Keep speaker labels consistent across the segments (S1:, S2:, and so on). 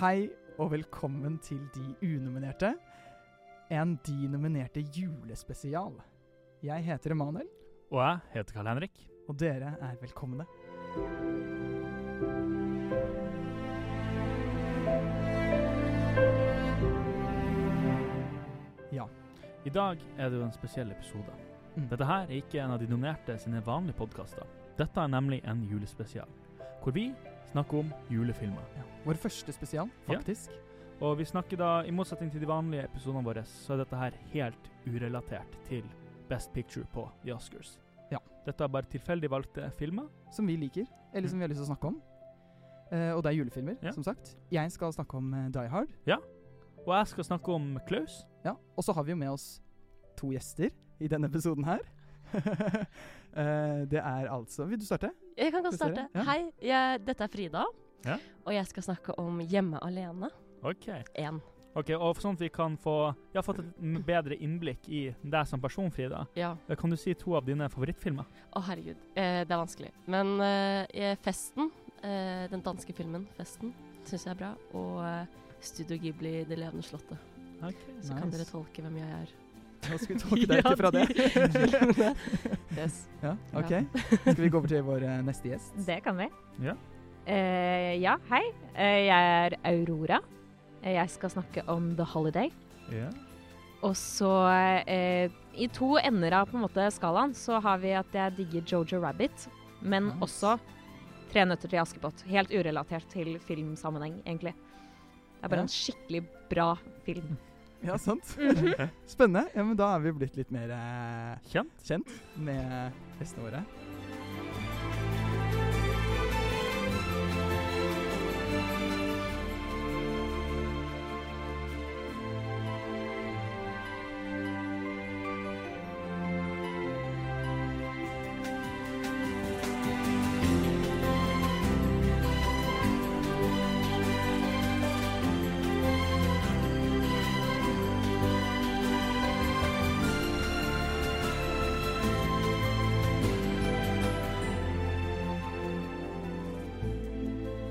S1: Hei og velkommen til De unominerte. En De nominerte julespesial. Jeg heter Emanuel,
S2: Og jeg heter Karl Henrik.
S1: og dere er velkomne.
S2: I dag er det jo en spesiell episode.
S1: Mm.
S2: Dette her er ikke en av de nominerte sine vanlige podkaster. Dette er nemlig en julespesial, hvor vi snakker om julefilmer.
S1: Ja. Vår første spesial,
S2: Ja.
S1: faktisk.
S2: Og vi snakker da, i motsetning til de vanlige episodene våre, så er dette her helt urelatert til Best Picture på The Oscars.
S1: Ja.
S2: Dette er bare tilfeldig valgte filmer.
S1: Som vi liker, eller som vi har lyst til å snakke om. Eh, og det er julefilmer,
S2: Ja.
S1: som sagt. Jeg skal snakke om eh, Die Hard.
S2: Og jeg skal snakke om Klaus.
S1: Ja, og så har vi jo med oss to gjester i denne episoden her. Eh, det er altså Vil du starte?
S3: Jeg kan godt
S1: Skal vi se
S3: starte.
S1: det? Ja.
S3: Hei, jeg, dette er Frida.
S2: Ja.
S3: Og jeg skal snakke om Hjemme alene
S2: Ok.
S3: 1.
S2: Ok, Og sånn at vi kan få Jeg har fått et m- bedre innblikk i deg som person, Frida.
S3: Ja.
S2: Kan du si to av dine favorittfilmer?
S3: Å, herregud. Eh, det er vanskelig. Men eh, eh, Festen, eh, den danske filmen Festen, syns jeg er bra. Og eh, Studio Ghibli, Det levende slottet. Så kan dere
S1: Nice.
S3: tolke hvem jeg er.
S1: Nå skal vi tolke deg ut ifra det.
S3: det. yes.
S1: Ja, ok. Skal vi gå over til vår eh, neste gjest?
S4: Det kan vi.
S2: Ja.
S4: Eh, ja, hei. Eh, jeg er Aurora. Eh, jeg skal snakke om The Holiday.
S2: Ja.
S4: Og så eh, I to ender av på en måte skalaen så har vi at jeg digger Jojo Rabbit, men
S1: Nice.
S4: også Tre nøtter til Askepott. Helt urelatert til filmsammenheng, egentlig. Det er bare
S1: Ja.
S4: en skikkelig bra film.
S1: Ja, sant? Spennende. Ja, men da er vi blitt litt mer eh,
S2: Kjent.
S1: Mhm. kjent med gjestene våre.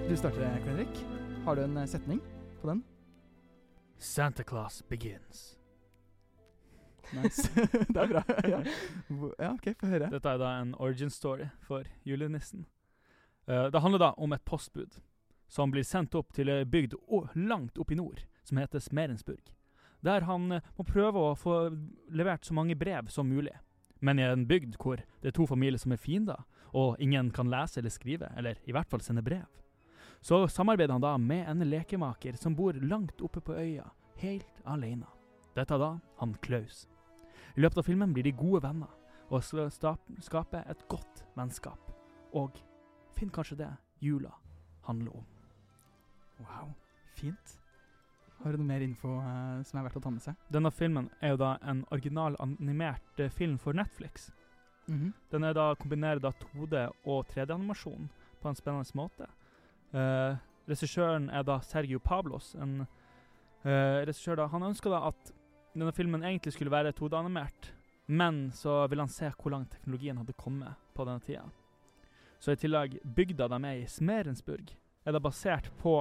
S1: Du starter, Henrik. Har du en eh, setning på den?
S2: Santa Claus begins.
S1: Nice. det er bra. ja. Hvor- ja, OK, få høre.
S2: Dette er da en origin story for julenissen. Eh, det handler da om et postbud som blir sendt opp til ei bygd å- langt opp i nord som heter Smerensburg. Der han eh, må prøve å få levert så mange brev som mulig. Men i en bygd hvor det er to familier som er fiender, og ingen kan lese eller skrive, eller i hvert fall sende brev. Så samarbeider han da med en lekemaker som bor langt oppe på øya, helt alene. Dette er da han Klaus. I løpet av filmen blir de gode venner og så sta- skape et godt vennskap. Og finn kanskje det jula handler om.
S1: Wow, fint. Har du noe mer info eh, som er verdt å ta med seg?
S2: Denne filmen er jo da en original animert eh, film for Netflix.
S1: Mhm.
S2: Den er da, kombinerer da 2D- og 3D-animasjon på en spennende måte. Eh, regissøren er da Sergio Pablos. En eh, regissør da, Han ønska da at denne filmen egentlig skulle være 2D-animert, men så ville han se hvor langt teknologien hadde kommet på denne tida. Så i tillegg, bygda de er i, Smerensburg, er da basert på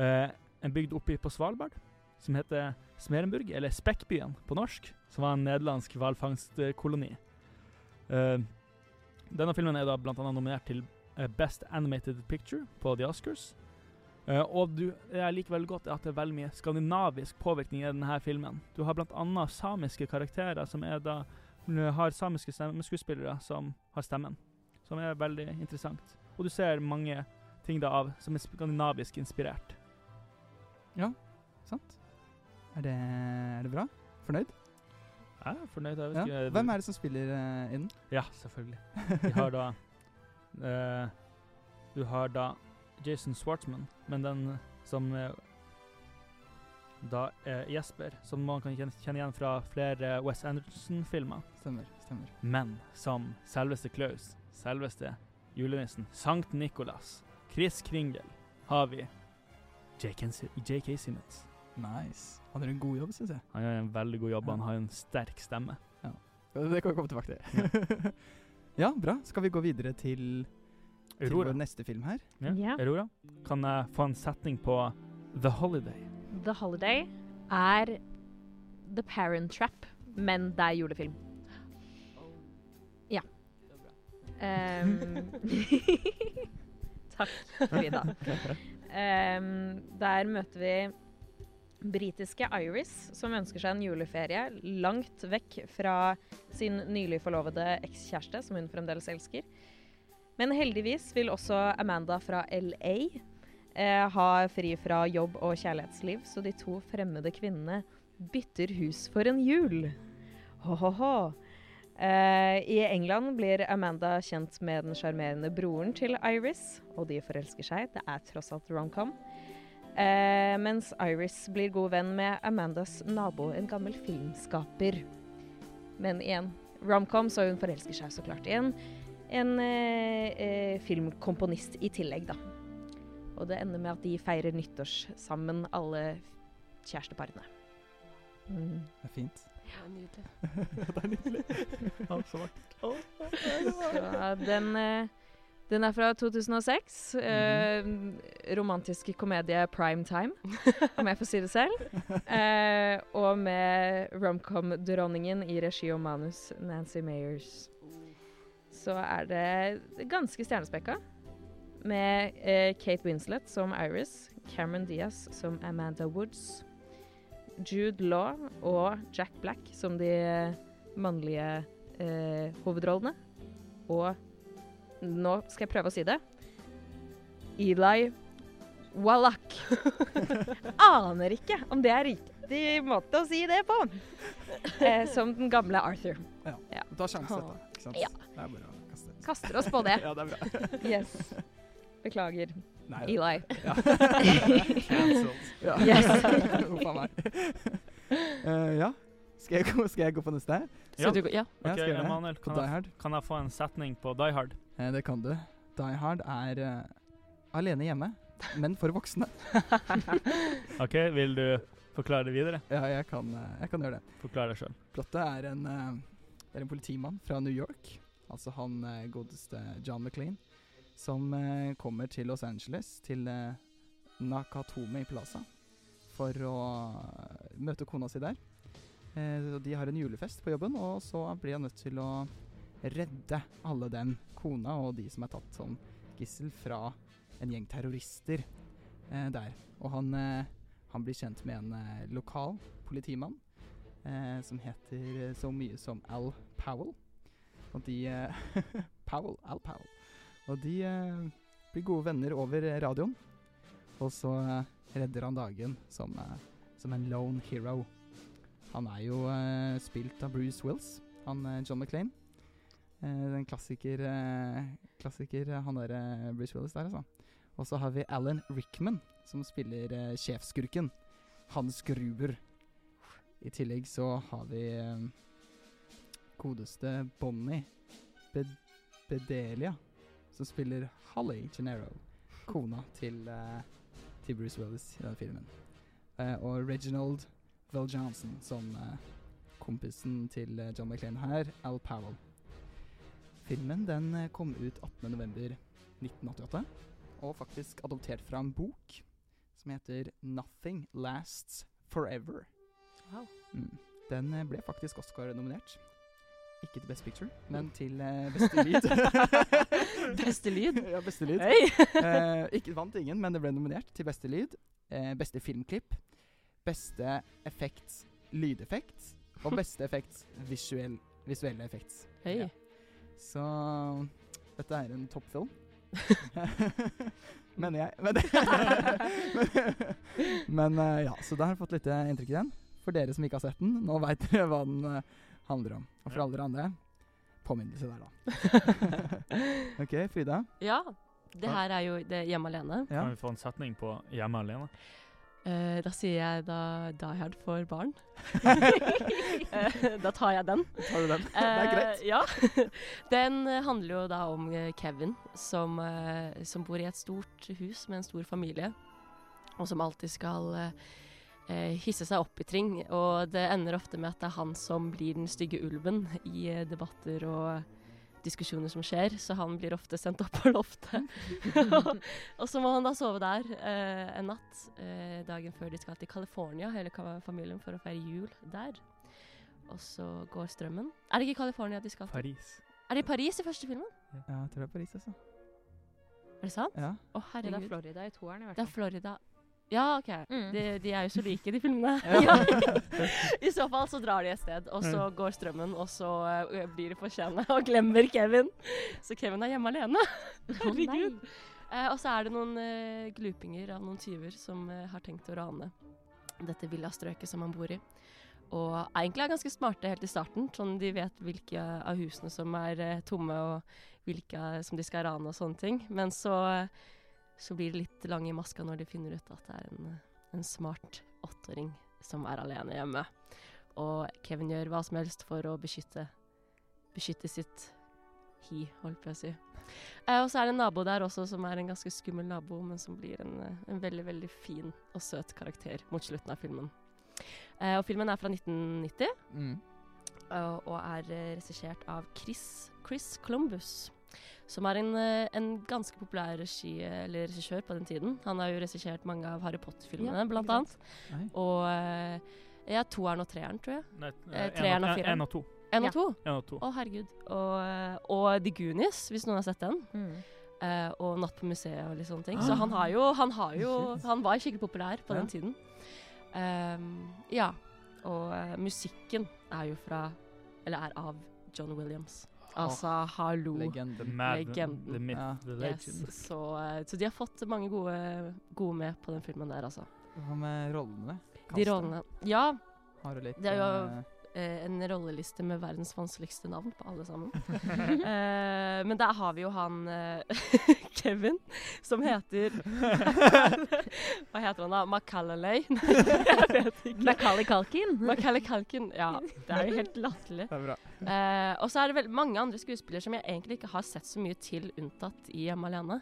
S2: eh, en bygd oppe på Svalbard som heter Smerenburg, eller Spekkbyen på norsk, som var en nederlandsk hvalfangstkoloni. Eh, denne filmen er da blant annet nominert til eh, Best Animated Picture på The Oscars. Eh, og du, det jeg liker veldig godt er at det er veldig mye skandinavisk påvirkning i denne filmen. Du har blant annet samiske karakterer som er da, eh, har samiske stemmeskuespillere som har stemmen. Som er veldig interessant. Og du ser mange ting da av som er skandinavisk inspirert.
S1: Sant? Er det, er det bra? Fornøyd?
S2: Jeg er fornøyd. Jeg
S1: Ja. Hvem er det som spiller eh, i den?
S2: Ja, selvfølgelig. Vi har da eh, Du har da Jason Schwartzman, men den som eh, da er Jesper, som man kan kjen- kjenne igjen fra flere West Anderson-filmer.
S1: Stemmer. stemmer.
S2: Men som selveste Klaus, selveste julenissen, Sankt Nikolas, Chris Kringel, har vi J.K. Si- J.K. Simmons.
S1: Nice. Han gjør en god jobb, syns jeg.
S2: Han gjør en veldig god jobb, han har en sterk stemme.
S1: Det kan vi komme tilbake til. ja, bra. Skal vi gå videre til, til
S2: Aurora.
S1: vår neste film her?
S2: Ja.
S4: Ja.
S2: Aurora, kan jeg få en setning på The Holiday.
S4: The Holiday er The Parent Trap, men det er julefilm. Ja. Ehm, Takk, Frida. Ehm, der møter vi britiske Iris, som ønsker seg en juleferie langt vekk fra sin nylig forlovede ekskjæreste, som hun fremdeles elsker. Men heldigvis vil også Amanda fra LA eh, ha fri fra jobb og kjærlighetsliv, så de to fremmede kvinnene bytter hus for en jul. Ho-ho-ho. Eh, I England blir Amanda kjent med den sjarmerende broren til Iris, og de forelsker seg. Det er tross alt romcom. Eh, mens Iris blir god venn med Amandas nabo, en gammel filmskaper. Men igjen, romcom, så hun forelsker seg så klart i en, en eh, eh, filmkomponist i tillegg, da. Og det ender med at de feirer nyttårs sammen, alle kjæresteparene. Mm.
S1: Det er fint.
S3: Det er nydelig.
S2: det er nydelig. Ja, så vakkert. Å,
S4: Så den, eh, den er fra 2006. eh, romantiske komedie prime time, om jeg får si det selv. Eh, og med romcom-dronningen i regi og manus, Nancy Meyers. Så er det ganske stjernespekka. Med eh, Kate Winslet som Iris, Cameron Diaz som Amanda Woods, Jude Law og Jack Black som de mannlige eh, hovedrollene. Og nå skal jeg prøve å si det. Eli Wallach. Aner ikke om det er riktig måte å si det på. Eh, som den gamle Arthur.
S1: Du tar sjansen, da. Ikke sant?
S4: Ja.
S1: Det er bare å kaste.
S4: Kaster oss på det.
S1: Ja, det er bra.
S4: Yes. Beklager,
S1: Nei, det-
S4: Eli.
S1: Ja. Cancelled. Ja.
S4: Yes.
S1: Huff a meg. Eh, ja. Skal jeg, gå, skal jeg gå på neste?
S2: Ja.
S3: Skal du gå?
S1: Ja,
S3: Ja.
S2: Ok,
S1: skal jeg gjøre det?
S2: Emanuel,
S1: På
S2: kan,
S1: Die
S2: jeg-
S1: Hard?
S2: kan jeg få en setning på Die Hard?
S1: Eh, det kan du. Die Hard er eh, alene hjemme, men for voksne.
S2: Ok, Vil du forklare det videre?
S1: Ja, jeg kan, eh, jeg kan gjøre det.
S2: Forklar deg sjøl.
S1: Plottet er en, eh, det er en politimann fra New York, altså han eh, godeste John McLean, som eh, kommer til Los Angeles, til eh, Nakatomi Plaza, for å eh, møte kona si der. Eh, og de har en julefest på jobben, og så blir han nødt til å redde alle den kona og de som er tatt som gissel fra en gjeng terrorister eh, der. Og han, eh, han blir kjent med en eh, lokal politimann eh, som heter eh, så mye som Al Powell. Og de eh, Powell, Al Powell. Og de eh, blir gode venner over eh, radioen. Og så eh, redder han dagen som, eh, som en lone hero. Han er jo eh, spilt av Bruce Wills, han eh, John McClain. Eh, den klassiker, eh, klassiker eh, han der eh, Bruce Willis der, altså. Og så har vi Alan Rickman, som spiller eh, sjefsskurken. Hans Gruber. I tillegg så har vi eh, godeste Bonnie Be Bedelia, som spiller Holly Gennaro, kona til, eh, til Bruce Willis i den filmen. Eh, og Reginald Vel Johnson som eh, kompisen til eh, John McClain her, Al Powell. Filmen den eh, kom ut 18.11.1988, og faktisk adoptert fra en bok som heter 'Nothing Lasts Forever'. Mm. Den eh, ble faktisk Oscar-nominert. Ikke til Best Picture, men til eh, beste lyd.
S3: Mm. Beste lyd?
S1: ja, beste lyd.
S3: Hei!
S1: Eh, ikke vant ingen, men det ble nominert til beste lyd, eh, beste filmklipp, beste effekt lydeffekt og beste effekt visuell, visuelle effekt.
S3: Hei.
S1: Ja. Så dette er en toppfilm. Mener jeg. Men, men, eh, ja, så da har jeg fått litt inntrykk i den. For dere som ikke har sett den, nå veit dere hva den eh, handler om. Og for alle dere andre påminnelse der, da. OK, Frida.
S3: Ja. Det her er jo det er hjemme alene.
S1: Ja.
S2: Kan vi få en setning på Hjemme alene?
S3: Eh, da sier jeg da Die Hard for barn. Eh, da tar jeg den.
S1: Tar du den? det er greit.
S3: Eh, ja. Den eh, handler jo da om eh, Kevin, som, eh, som bor i et stort hus med en stor familie, og som alltid skal eh, eh, hisse seg opp i ting. Og det ender ofte med at det er han som blir den stygge ulven i eh, debatter og diskusjoner som skjer, så han blir ofte sendt opp på loftet. og så må han da sove der eh, en natt. Eh, dagen før de skal til California, hele ka- familien, for å feire jul der. Og så går strømmen. Er det ikke California de skal til?
S2: Paris.
S3: Er det i Paris i første filmen?
S1: Ja, jeg tror det er Paris, altså.
S3: Er det sant?
S1: Ja.
S3: Å,
S4: Det er
S3: herregud.
S4: Florida i toeren, i hvert
S3: Det er
S4: fall.
S3: Florida. Ja, OK.
S4: Mm.
S3: De, de er jo så like, de filmene.
S1: Ja. Mm.
S3: I så fall så drar de et sted, og så går strømmen, og så eh, blir de fortjent og glemmer Kevin. Så Kevin er hjemme alene. Herregud. Eh, og så er det noen eh, glupinger av noen tyver som eh, har tenkt å rane dette villastrøket som han bor i. Og er egentlig er ganske smarte helt i starten, sånn de vet hvilke av husene som er eh, tomme og hvilke som de skal rane og sånne ting. Men så, eh, så blir det litt lang i maska når de finner ut at det er en, eh, en smart åtteåring som er alene hjemme. Og Kevin gjør hva som helst for å beskytte, beskytte sitt hi, holdt på å si. Eh, og så er det en nabo der også som er en ganske skummel nabo, men som blir en, eh, en veldig, veldig fin og søt karakter mot slutten av filmen. Eh, og filmen er fra 1990
S1: Mm.
S3: og, og er eh, regissert av Chris, Chris Columbus. Som er en, eh, en ganske populær regi, eh, eller regissør på den tiden. Han har jo regissert mange av Harry Potter-filmene,
S4: Ja,
S3: blant
S4: ikke
S3: annet.
S4: sant?
S1: Nei.
S3: Og eh, ja, toeren og treeren, tror jeg.
S2: Nei,
S3: Eh,
S2: en
S3: treeren og
S2: en-
S3: fireren.
S2: En og to.
S3: Én
S4: Ja.
S3: og to.
S2: En og to.
S3: Å, herregud. Og, eh, og The Goonies, hvis noen har sett den.
S4: Mm.
S3: Eh, og Natt på museet og litt sånne ting.
S2: Ah.
S3: Så han har jo Han, har jo,
S1: Shit.
S3: han var skikkelig populær på
S1: Ja.
S3: den tiden. Ehm, ja. Og eh, musikken er jo fra Eller er av John Williams.
S1: Ah,
S3: Altså hallo.
S2: The
S1: Legenden.
S2: Mad,
S3: Legenden.
S2: The Myth,
S1: Ja.
S2: The
S3: Yes,
S2: Legend.
S3: så, eh, så de har fått mange gode, gode med på den filmen der, altså.
S1: Hva med rollene?
S3: De rollene. Ja,
S1: Har du litt
S3: Det er jo-
S1: eh,
S3: eh, en rolleliste med verdens vanskeligste navn på alle sammen.
S4: Mm.
S3: Eh, men der har vi jo han eh, Kevin, som heter Hva heter han da? Macallay? Nei, jeg vet ikke.
S4: Macaulay Culkin.
S3: Macaulay Culkin. Ja, det er jo helt latterlig.
S1: Det er bra.
S3: Eh, og så er det vel mange andre skuespillere som jeg egentlig ikke har sett så mye til, unntatt i Hjemme alene.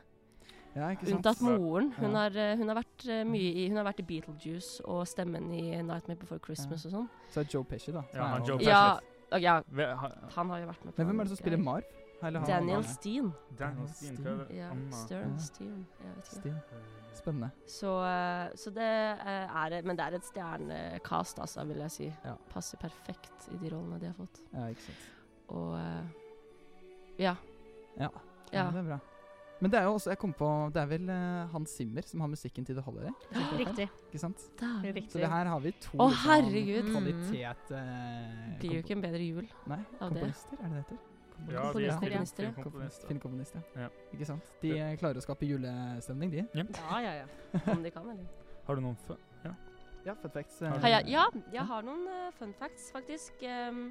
S1: Ja, ikke sant?
S3: Unntatt moren. Hun,
S1: Ja.
S3: har, eh, hun, har vært, eh, mye i, hun har vært i Beetlejuice og stemmen i Nightmare Before Christmas og sånn.
S1: Så er det Joe Pesci, da. som
S2: Ja,
S1: er
S2: han
S1: nå-
S2: Joe Pesci.
S3: Ja, og ja,
S2: Ve- ha-
S3: han har jo vært med på
S1: Men hvem er
S3: en
S1: det som spiller
S3: greie.
S1: Marv? Eller han-
S3: Daniel
S1: han-
S3: Steen.
S2: Daniel Steen, hva er det?
S3: Ja,
S2: Anna.
S3: Stern,
S1: Ja.
S3: Steen. Jeg vet ikke.
S1: Steen. Spennende.
S3: Så, eh, så det eh, er det. Men det er et stjernekast, altså, vil jeg si.
S1: Ja.
S3: Passer perfekt i de rollene de har fått.
S1: Ja, ikke sant.
S3: Og eh, ja.
S1: Ja.
S3: Ja.
S1: Ja, det er bra. Men det er jo også, jeg kom på, det er vel eh, Hans Zimmer som har musikken til The Holiday?
S4: Riktig.
S1: Ikke sant?
S3: Dæven.
S1: Så
S4: Riktig.
S1: det her har vi to
S3: Å,
S1: liksom,
S3: herregud.
S1: kvalitet eh,
S3: Blir jo
S1: kompo-
S3: ikke en bedre jul.
S1: Nei,
S3: av det.
S1: komponister, er det det heter?
S2: Ja,
S1: Komponister.
S2: de er
S3: Komponister,
S2: film-
S3: ja.
S2: film-
S1: Komponist,
S2: komponister.
S1: filmkomponist, ja.
S2: Ja.
S1: Ikke sant? De eh, klarer å skape julestemning, de.
S4: Ja, ja, ja.
S3: Om de kan, eller?
S2: Har du noen fø...
S1: Ja, fun facts.
S2: Har du-
S3: Har jeg, ja, jeg har noen eh, fun facts, faktisk. Ehm,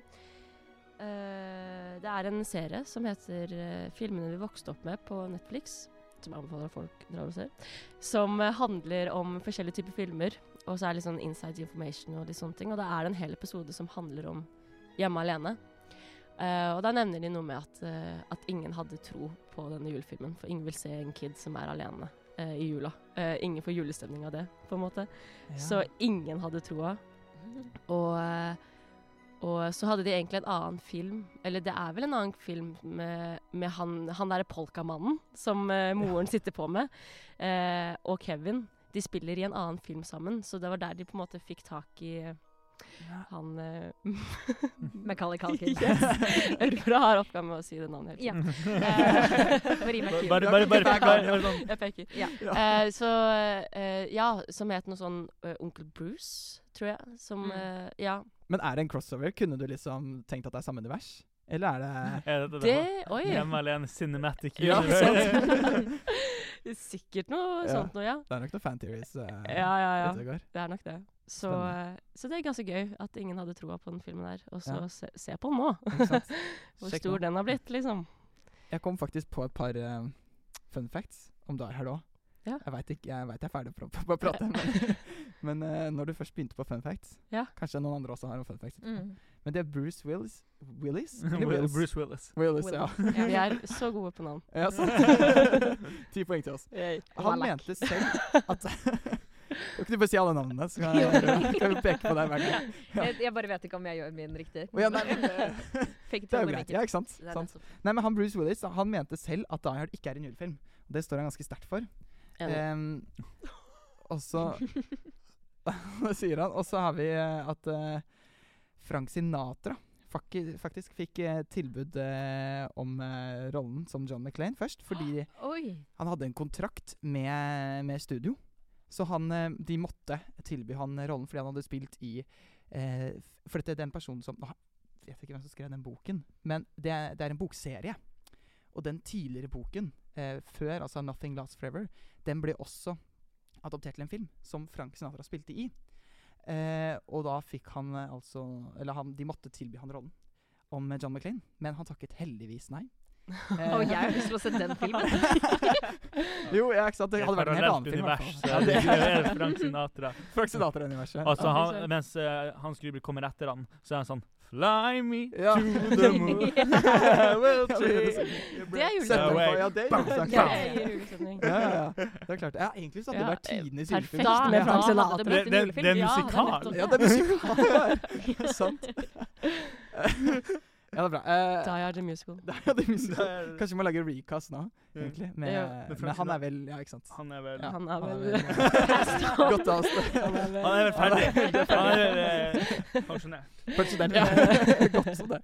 S3: eh, det er en serie som heter eh, 'Filmene vi vokste opp med' på Netflix. Som jeg anbefaler at folk drar og ser. Som eh, handler om forskjellige typer filmer. Og så er det litt sånn inside information og litt sånne ting. Og da er det en hel episode som handler om hjemme alene. Eh, og da nevner de noe med at, eh, at ingen hadde tro på denne julefilmen. For ingen vil se en kid som er alene eh, i jula. Eh, ingen får julestemning av det, på en måte. Så ingen hadde troa. Og, eh, og så hadde de egentlig en annen film, eller det er vel en annen film med, med han, han derre polkamannen som eh, moren sitter på med, eh, og Kevin. De spiller i en annen film sammen, så det var der de på en måte fikk tak i eh, han eh,
S4: Macaulay Culkin.
S3: Yes! Aurora har oppgave med å si det navnet hele tiden.
S4: Ja.
S1: Mm.
S2: Bare,
S4: Marie McCune.
S2: bare, bare, bare,
S1: Hver gang.
S2: bare sånn.
S3: Jeg peker.
S4: Ja.
S3: Eh, så eh, Ja, som het noe sånn eh, Onkel Bruce, tror jeg. Som
S4: Mm.
S3: eh, Ja.
S1: Men er det en crossover? Kunne du liksom tenkt at det er samme univers? Eller er det
S2: Er dette det?
S3: Det Oi!
S2: Hjemme alene cinematic
S1: Ja,
S2: universe.
S3: Det er Sikkert noe
S1: Ja.
S3: sånt noe, ja.
S1: Det er nok noen fan theories. eh,
S3: Ja, ja, ja.
S1: ute og går.
S3: Det er nok det. Så, eh,
S1: Spennende.
S3: så det er ganske gøy at ingen hadde troa på den filmen der. Og så
S1: Ja.
S3: se, se på den nå,
S1: Ikke sant?
S3: hvor
S1: Sjekk
S3: stor
S1: nå.
S3: den har blitt, liksom.
S1: Jeg kom faktisk på et par eh, fun facts om Die Hard òg.
S3: Ja.
S1: Jeg veit jeg, vet jeg er ferdig på, på å prate, men, men eh, når du først begynte på fun facts
S3: Ja.
S1: Kanskje noen andre også har noen fun facts. etterpå.
S4: Mm.
S1: Men det er Bruce Willis Willis? Eller
S2: Will-
S1: Wills?
S2: Bruce Willis.
S1: Willis,
S4: Will.
S1: ja.
S3: Vi er så gode på navn.
S1: ja sant. Ti poeng til oss. Han
S3: Mm. Wallach.
S1: mente selv at Kan ikke du bare si alle navnene, så kan jeg, kan vi peke på deg hver gang.
S4: Jeg, jeg bare vet ikke om jeg gjør min riktig.
S1: Å ja, nei, men det,
S4: Fake it
S1: det er jo
S4: till you
S1: greit.
S4: make it.
S1: Ja, ikke sant? Sånn.
S3: Det er
S1: sant.
S3: nettopp-
S1: Nei, men han Bruce Willis da, han mente selv at Die Hard ikke er en julefilm. Og Det står han ganske sterkt for.
S3: Enig.
S1: Ehm, og så Det sier han. Og så har vi eh, at eh, Frank Sinatra fakki- faktisk fikk eh, tilbud eh, om eh, rollen som John McClain først, fordi
S4: Oi.
S1: han hadde en kontrakt med, med studio. Så han, eh, de måtte tilby han rollen fordi han hadde spilt i eh, f- For dette det er en person som nå, Jeg vet ikke hvem som skrev den boken, men det er, det er en bokserie. Og den tidligere boken, eh, før altså 'Nothing Lasts Forever', den ble også adoptert til en film som Frank Sinatra spilte i. Eh, og da fikk han eh, altså Eller han, de måtte tilby han rollen om eh, John McClain, men han takket heldigvis nei. Eh,
S4: Å, jeg har lyst til å se den filmen.
S1: jo, ja, ikke sant? Det hadde vært en helt annen film. i hvert
S2: univers.
S1: fall.
S2: så det er Frank Sinatra.
S1: Frank Sinatra-universet.
S2: Altså,
S3: Ja,
S2: han,
S3: sant.
S2: mens eh, Hans Gruber kommer etter han, så er han sånn Fly me
S1: Ja.
S2: to the moon.
S1: Ja,
S2: we'll
S1: det er
S2: take your breath
S3: Det er
S1: Sett den på,
S2: away.
S1: ja, det er
S2: Bam,
S1: julesang.
S3: Ja, jeg gir julestemning.
S1: Ja, ja, ja. Det er klart. Ja, egentlig så hadde det
S3: Ja, eh,
S1: vært tidenes
S3: Perfekt
S1: julefilm.
S4: Da-
S1: Ja.
S3: med Frank
S4: da hadde
S3: Sinatra.
S4: det blitt
S2: Det- det-
S4: en julefilm.
S2: det er en
S4: Ja,
S2: musikal.
S4: nettopp
S1: Ja,
S4: det.
S1: det er musikal. ja. Sant. Ja, det er bra. Eh,
S3: Die Hard the Musical.
S1: det er jo det
S2: Det
S1: musikal.
S2: er-
S1: Kanskje vi må lage recast nå, egentlig. Med,
S3: Ja.
S2: Men Frank
S1: men han
S2: Sinatra-
S1: er vel Ja, ikke sant.
S2: Han er vel
S1: Ja,
S3: Han er vel
S1: Godt av oss.
S2: Han er vel ferdig. Han er eh, pensjonert.
S1: Pensjonert. Godt som det.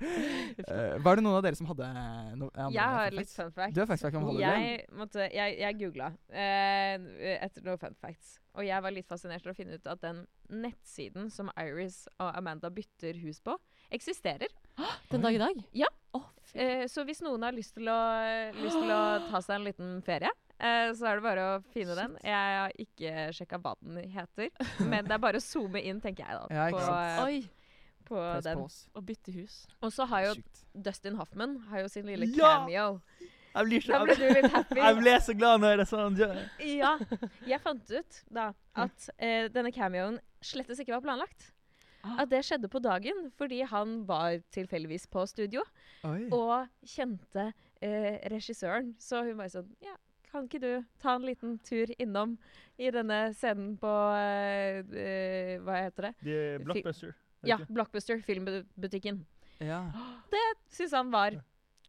S1: Eh, var det noen av dere som hadde noe? andre
S4: Jeg har
S1: fun
S4: litt
S1: facts?
S4: fun fact.
S1: Du har faktisk vært om Hollywood.
S4: Jeg, måtte, jeg, jeg googla eh, etter noen fun facts, og jeg var litt fascinert over å finne ut at den nettsiden som Iris og Amanda bytter hus på, eksisterer.
S3: Den dag i dag?
S4: Ja.
S3: Å, fy.
S4: Eh, så hvis noen har lyst til å, lyst til å ta seg en liten ferie, eh, så er det bare å finne den. Jeg har ikke sjekka hva den heter, men det er bare å zoome inn, tenker jeg da,
S1: Ja, ikke
S4: på,
S1: sant.
S3: Oi,
S4: eh, på
S1: Press
S4: den.
S1: pause.
S3: å bytte hus.
S4: Og så har jo
S1: Sjukt.
S4: Dustin Hoffman har jo sin lille
S2: Ja!
S4: cameo.
S2: Jeg blir
S4: Da ble du litt happy.
S2: Jeg ble så glad når det er sånn. ja.
S4: Ja. Jeg fant ut da at eh, denne cameoen slettes ikke var planlagt.
S3: Ah.
S4: At det skjedde på dagen fordi han var tilfeldigvis på studio
S1: Oi.
S4: og kjente eh, regissøren. Så hun bare sånn Ja, kan ikke du ta en liten tur innom i denne scenen på eh, eh, Hva heter det?
S2: De er blockbuster. er det
S4: Ja,
S2: ikke?
S4: Blockbuster, filmbutikken.
S1: Ja.
S4: Syns han var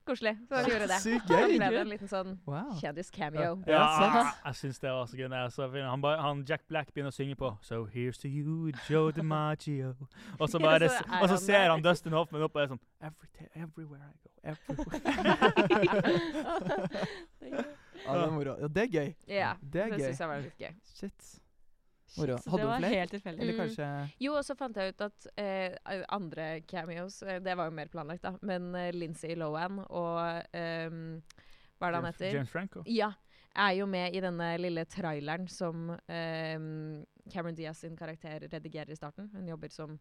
S4: koselig, så han gjorde det.
S1: Sykt
S4: Da ble
S1: gøy.
S4: det en liten sånn
S1: Wow.
S4: kjendis-cameo.
S1: Ja,
S2: Ja,
S1: sant.
S2: jeg syns det var så gøy. når jeg så filmen. Han, bare- han Jack Black begynner å synge på So here's to you, Joe DiMaggio. Og så, bare,
S4: Ja, så er
S2: og så
S4: han
S2: ser
S4: der.
S2: han Dustin Hoffman opp og er sånn Every ta- Everywhere I go. Everywhere.
S1: Ja, det er moro. Ja, det er gøy.
S4: Ja,
S1: Det er gøy.
S4: syns jeg var litt gøy.
S1: Shit. Moro.
S3: Shit, så
S1: Hadde
S3: det
S1: hun
S3: var
S1: flere?
S3: helt tilfeldig.
S1: Eller
S4: Mm.
S1: kanskje
S4: Jo, og så fant jeg ut at eh, andre cameos eh, Det var jo mer planlagt, da. Men eh, Lindsay Lohan og eh, Hva er det han
S2: James,
S4: heter?
S2: James Franco.
S4: Ja. Er jo med i denne lille traileren som eh, Cameron Diaz sin karakter redigerer i starten. Hun jobber som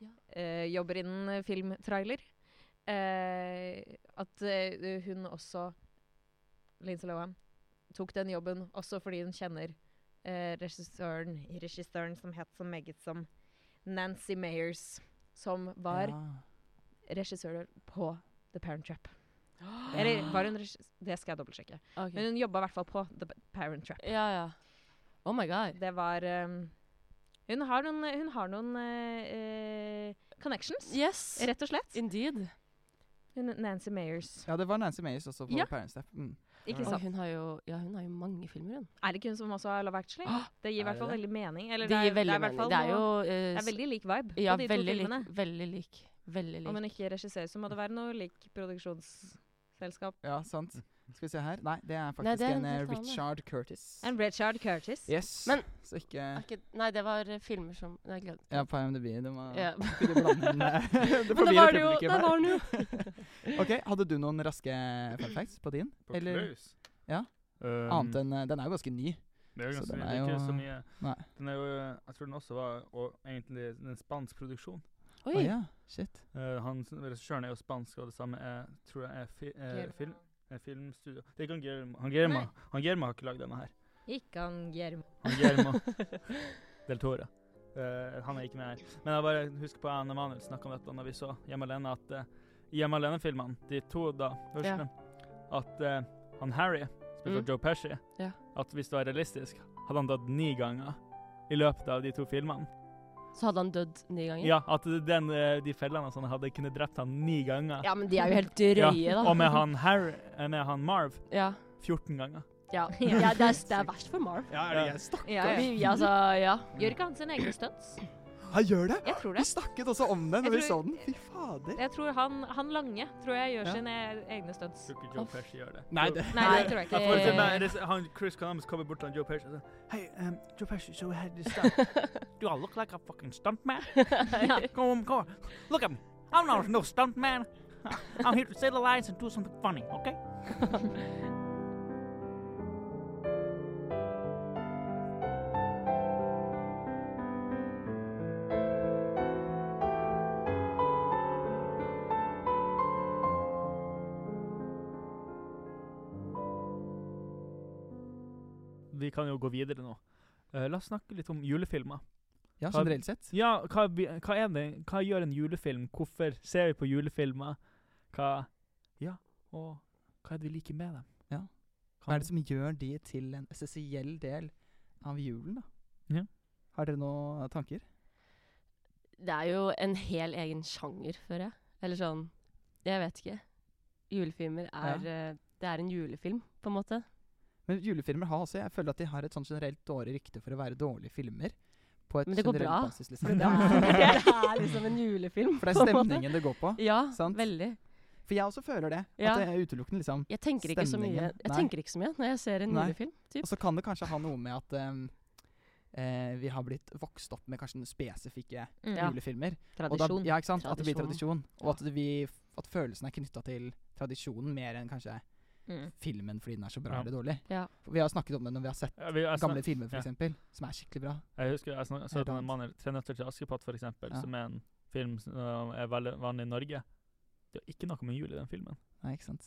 S3: Ja.
S4: eh, Jobber innen filmtrailer. Eh, at eh, hun også Lindsay Lohan tok den jobben også fordi hun kjenner eh, regissøren, regissøren som het så meget som Nancy Meyers, som var
S1: Ja.
S4: regissør på The Parent Trap.
S3: Ah.
S4: Eller var hun regissør? Det skal jeg dobbeltsjekke.
S3: Ok.
S4: Men hun jobba i hvert fall på The Parent Trap.
S3: Ja, ja. Oh my god.
S4: Det var ehm, Hun har noen, hun har noen eh, eh, connections,
S3: Yes,
S4: rett og slett.
S3: indeed.
S4: Hun, Nancy Meyers.
S1: ja, det var Nancy Meyers også på
S4: Ja.
S1: Parents Step. Mm.
S4: Ikke
S3: Og
S4: sant?
S3: hun har jo, ja, hun har jo mange filmer, hun.
S4: Er det ikke hun som også har Love Actually?
S3: Ah,
S4: Det gir
S1: er
S4: i hvert fall
S1: det
S4: veldig mening. Eller
S3: Det
S4: er-
S3: gir veldig
S4: er i hvert
S3: mening.
S4: fall
S3: Det er jo
S4: noe-
S3: eh,
S4: det er veldig lik vibe
S3: ja,
S4: på de to
S3: veldig lik,
S4: filmene.
S3: veldig lik. Veldig
S4: Om hun
S3: lik.
S4: ikke regisserer, så må det være noe lik produksjonsselskap.
S1: Ja, sant. Skal vi se her. Nei, det er faktisk
S3: Nei, det er en
S1: en eh,
S3: helt annen.
S1: Richard Curtis.
S4: And Richard Curtis.
S1: Yes.
S3: Men-
S1: så ikke
S3: Er ikke, nei, det var eh, filmer som Nei, glem
S1: Ja, på IMDb. Det må
S3: Ja.
S1: ikke du blande inn, eh, Det
S3: Men da
S1: forvirrer
S3: var det jo
S1: publikum
S3: Da
S1: her.
S3: var hun jo
S1: OK, hadde du noen raske fun facts på din? Eller Ja.
S2: Um.
S1: annet enn eh, Den er jo ganske ny.
S2: Det er jo
S1: Så
S2: ganske
S1: den
S2: mye.
S1: er
S2: Det er ikke
S1: jo-
S2: så mye.
S1: Nei.
S2: Den er jo, jeg tror den også var og egentlig en spansk produksjon.
S1: Å
S3: Oi.
S1: ja. Shit.
S2: Eh, han s- Regissøren er jo spansk, og det samme er, tror jeg er fi, eh, film, eh, filmstudio Det er ikke han Guillermo. Han Guillermo,
S4: Nei.
S2: han Guillermo har ikke lagd denne her.
S4: Ikke han Guillermo.
S2: Han Guillermo del Toro. Eh, han er ikke med her. Men jeg bare husker på Anne Manuel snakka om dette når vi så Hjemme alene, at eh, i Hjemme alene-filmene, de to da, første, at eh, han Harry, spilt av
S3: Mm.
S2: Joe Pesci,
S3: Ja.
S2: at hvis det var realistisk, hadde han dødd ni ganger. i løpet av de to filmene.
S3: Så hadde han dødd ni ganger?
S2: Ja, At den, eh, de fellene og sånn hadde kunne drept han ni ganger.
S3: Ja, men de er jo helt drøye, da.
S2: Og med han, Harry, eh, med han Marv
S3: Ja,
S2: 14 ganger.
S3: ja. ja det, er, det er verst for Marv.
S1: Ja,
S2: er det jeg?
S1: Stakk.
S4: Ja, ja.
S3: Vi- Altså, ja.
S4: Gjør ikke han sine egne stunts?
S1: Han gjør det!
S4: Jeg tror
S1: Vi
S4: det.
S1: snakket også om det når vi
S4: Jeg
S1: så
S4: tror-
S1: den. Fy fader.
S4: Jeg tror han, han lange tror jeg gjør
S1: Ja.
S4: sine e-, egne stunts.
S2: Tror ikke
S3: Joe
S2: Joe
S3: Uff.
S2: Pesci gjør det.
S1: Nei, det-
S4: Nei, det tror jeg
S2: At for eksempel,
S4: ikke.
S2: det er han, Chris Columbus kommer bort til han Joe Pesci og sier Hei, um, Joe Pesci, so how did you stunt? Do I look like a fucking stuntman? Go on, go on. Look at me. I'm not no stuntman. I'm here to say the lines and do something funny, okay? Vi kan jo gå videre nå. Eh, la oss snakke litt om julefilmer.
S1: Ja, generelt sett.
S2: Ja, hva, vi- hva er det? Hva gjør en julefilm? Hvorfor ser vi på julefilmer? Hva Ja, og hva er det vi liker med dem?
S1: Ja. Hva er det som gjør de til en essensiell del av julen, da?
S2: Ja.
S1: Har dere noen tanker?
S3: Det er jo en hel egen sjanger, føler jeg. Eller sånn Jeg vet ikke. Julefilmer er eh, Det er en julefilm, på en måte.
S1: Men julefilmer har også Jeg føler at de har et sånn generelt dårlig rykte for å være dårlige filmer. På et
S3: Men det går
S1: generelt
S3: bra,
S1: Basis,
S3: For
S1: liksom.
S3: det er, det er liksom en julefilm.
S1: For det
S3: på
S1: er
S3: en måte.
S1: stemningen det går på.
S3: Ja,
S1: Sant?
S3: veldig.
S1: For jeg også føler det.
S3: Ja.
S1: At det er utelukkende liksom
S3: Jeg tenker ikke så mye
S1: Stemningen,
S3: Jeg
S1: nei.
S3: tenker ikke så mye når jeg ser en
S1: Nei.
S3: julefilm. Typ.
S1: Og så kan det kanskje ha noe med at ehm, eh, vi har blitt vokst opp med kanskje noen spesifikke
S4: Mm.
S3: Ja.
S1: julefilmer. Og da,
S4: Tradisjon.
S1: ja, ikke sant? At det blir tradisjon. Og
S3: Tradisjon.
S1: at, vi, at følelsen er knytta til tradisjonen mer enn kanskje
S4: Mm.
S1: filmen fordi den er så bra
S2: Ja.
S1: eller dårlig.
S3: Ja.
S1: For vi har snakket om det når vi har sett
S2: Ja, vi- jeg,
S1: gamle
S2: snak,
S1: filmer,
S2: ja.
S1: f.eks., eksempel som er skikkelig bra.
S2: jeg husker jeg snak, så
S1: Helt
S2: den
S1: annet.
S2: mannen 'Tre nøtter til Askepott', for eksempel,
S1: Ja.
S2: som er en film som uh, er veldig vanlig i Norge. Det er ikke noe med jul i den filmen.
S1: Nei, ikke sant?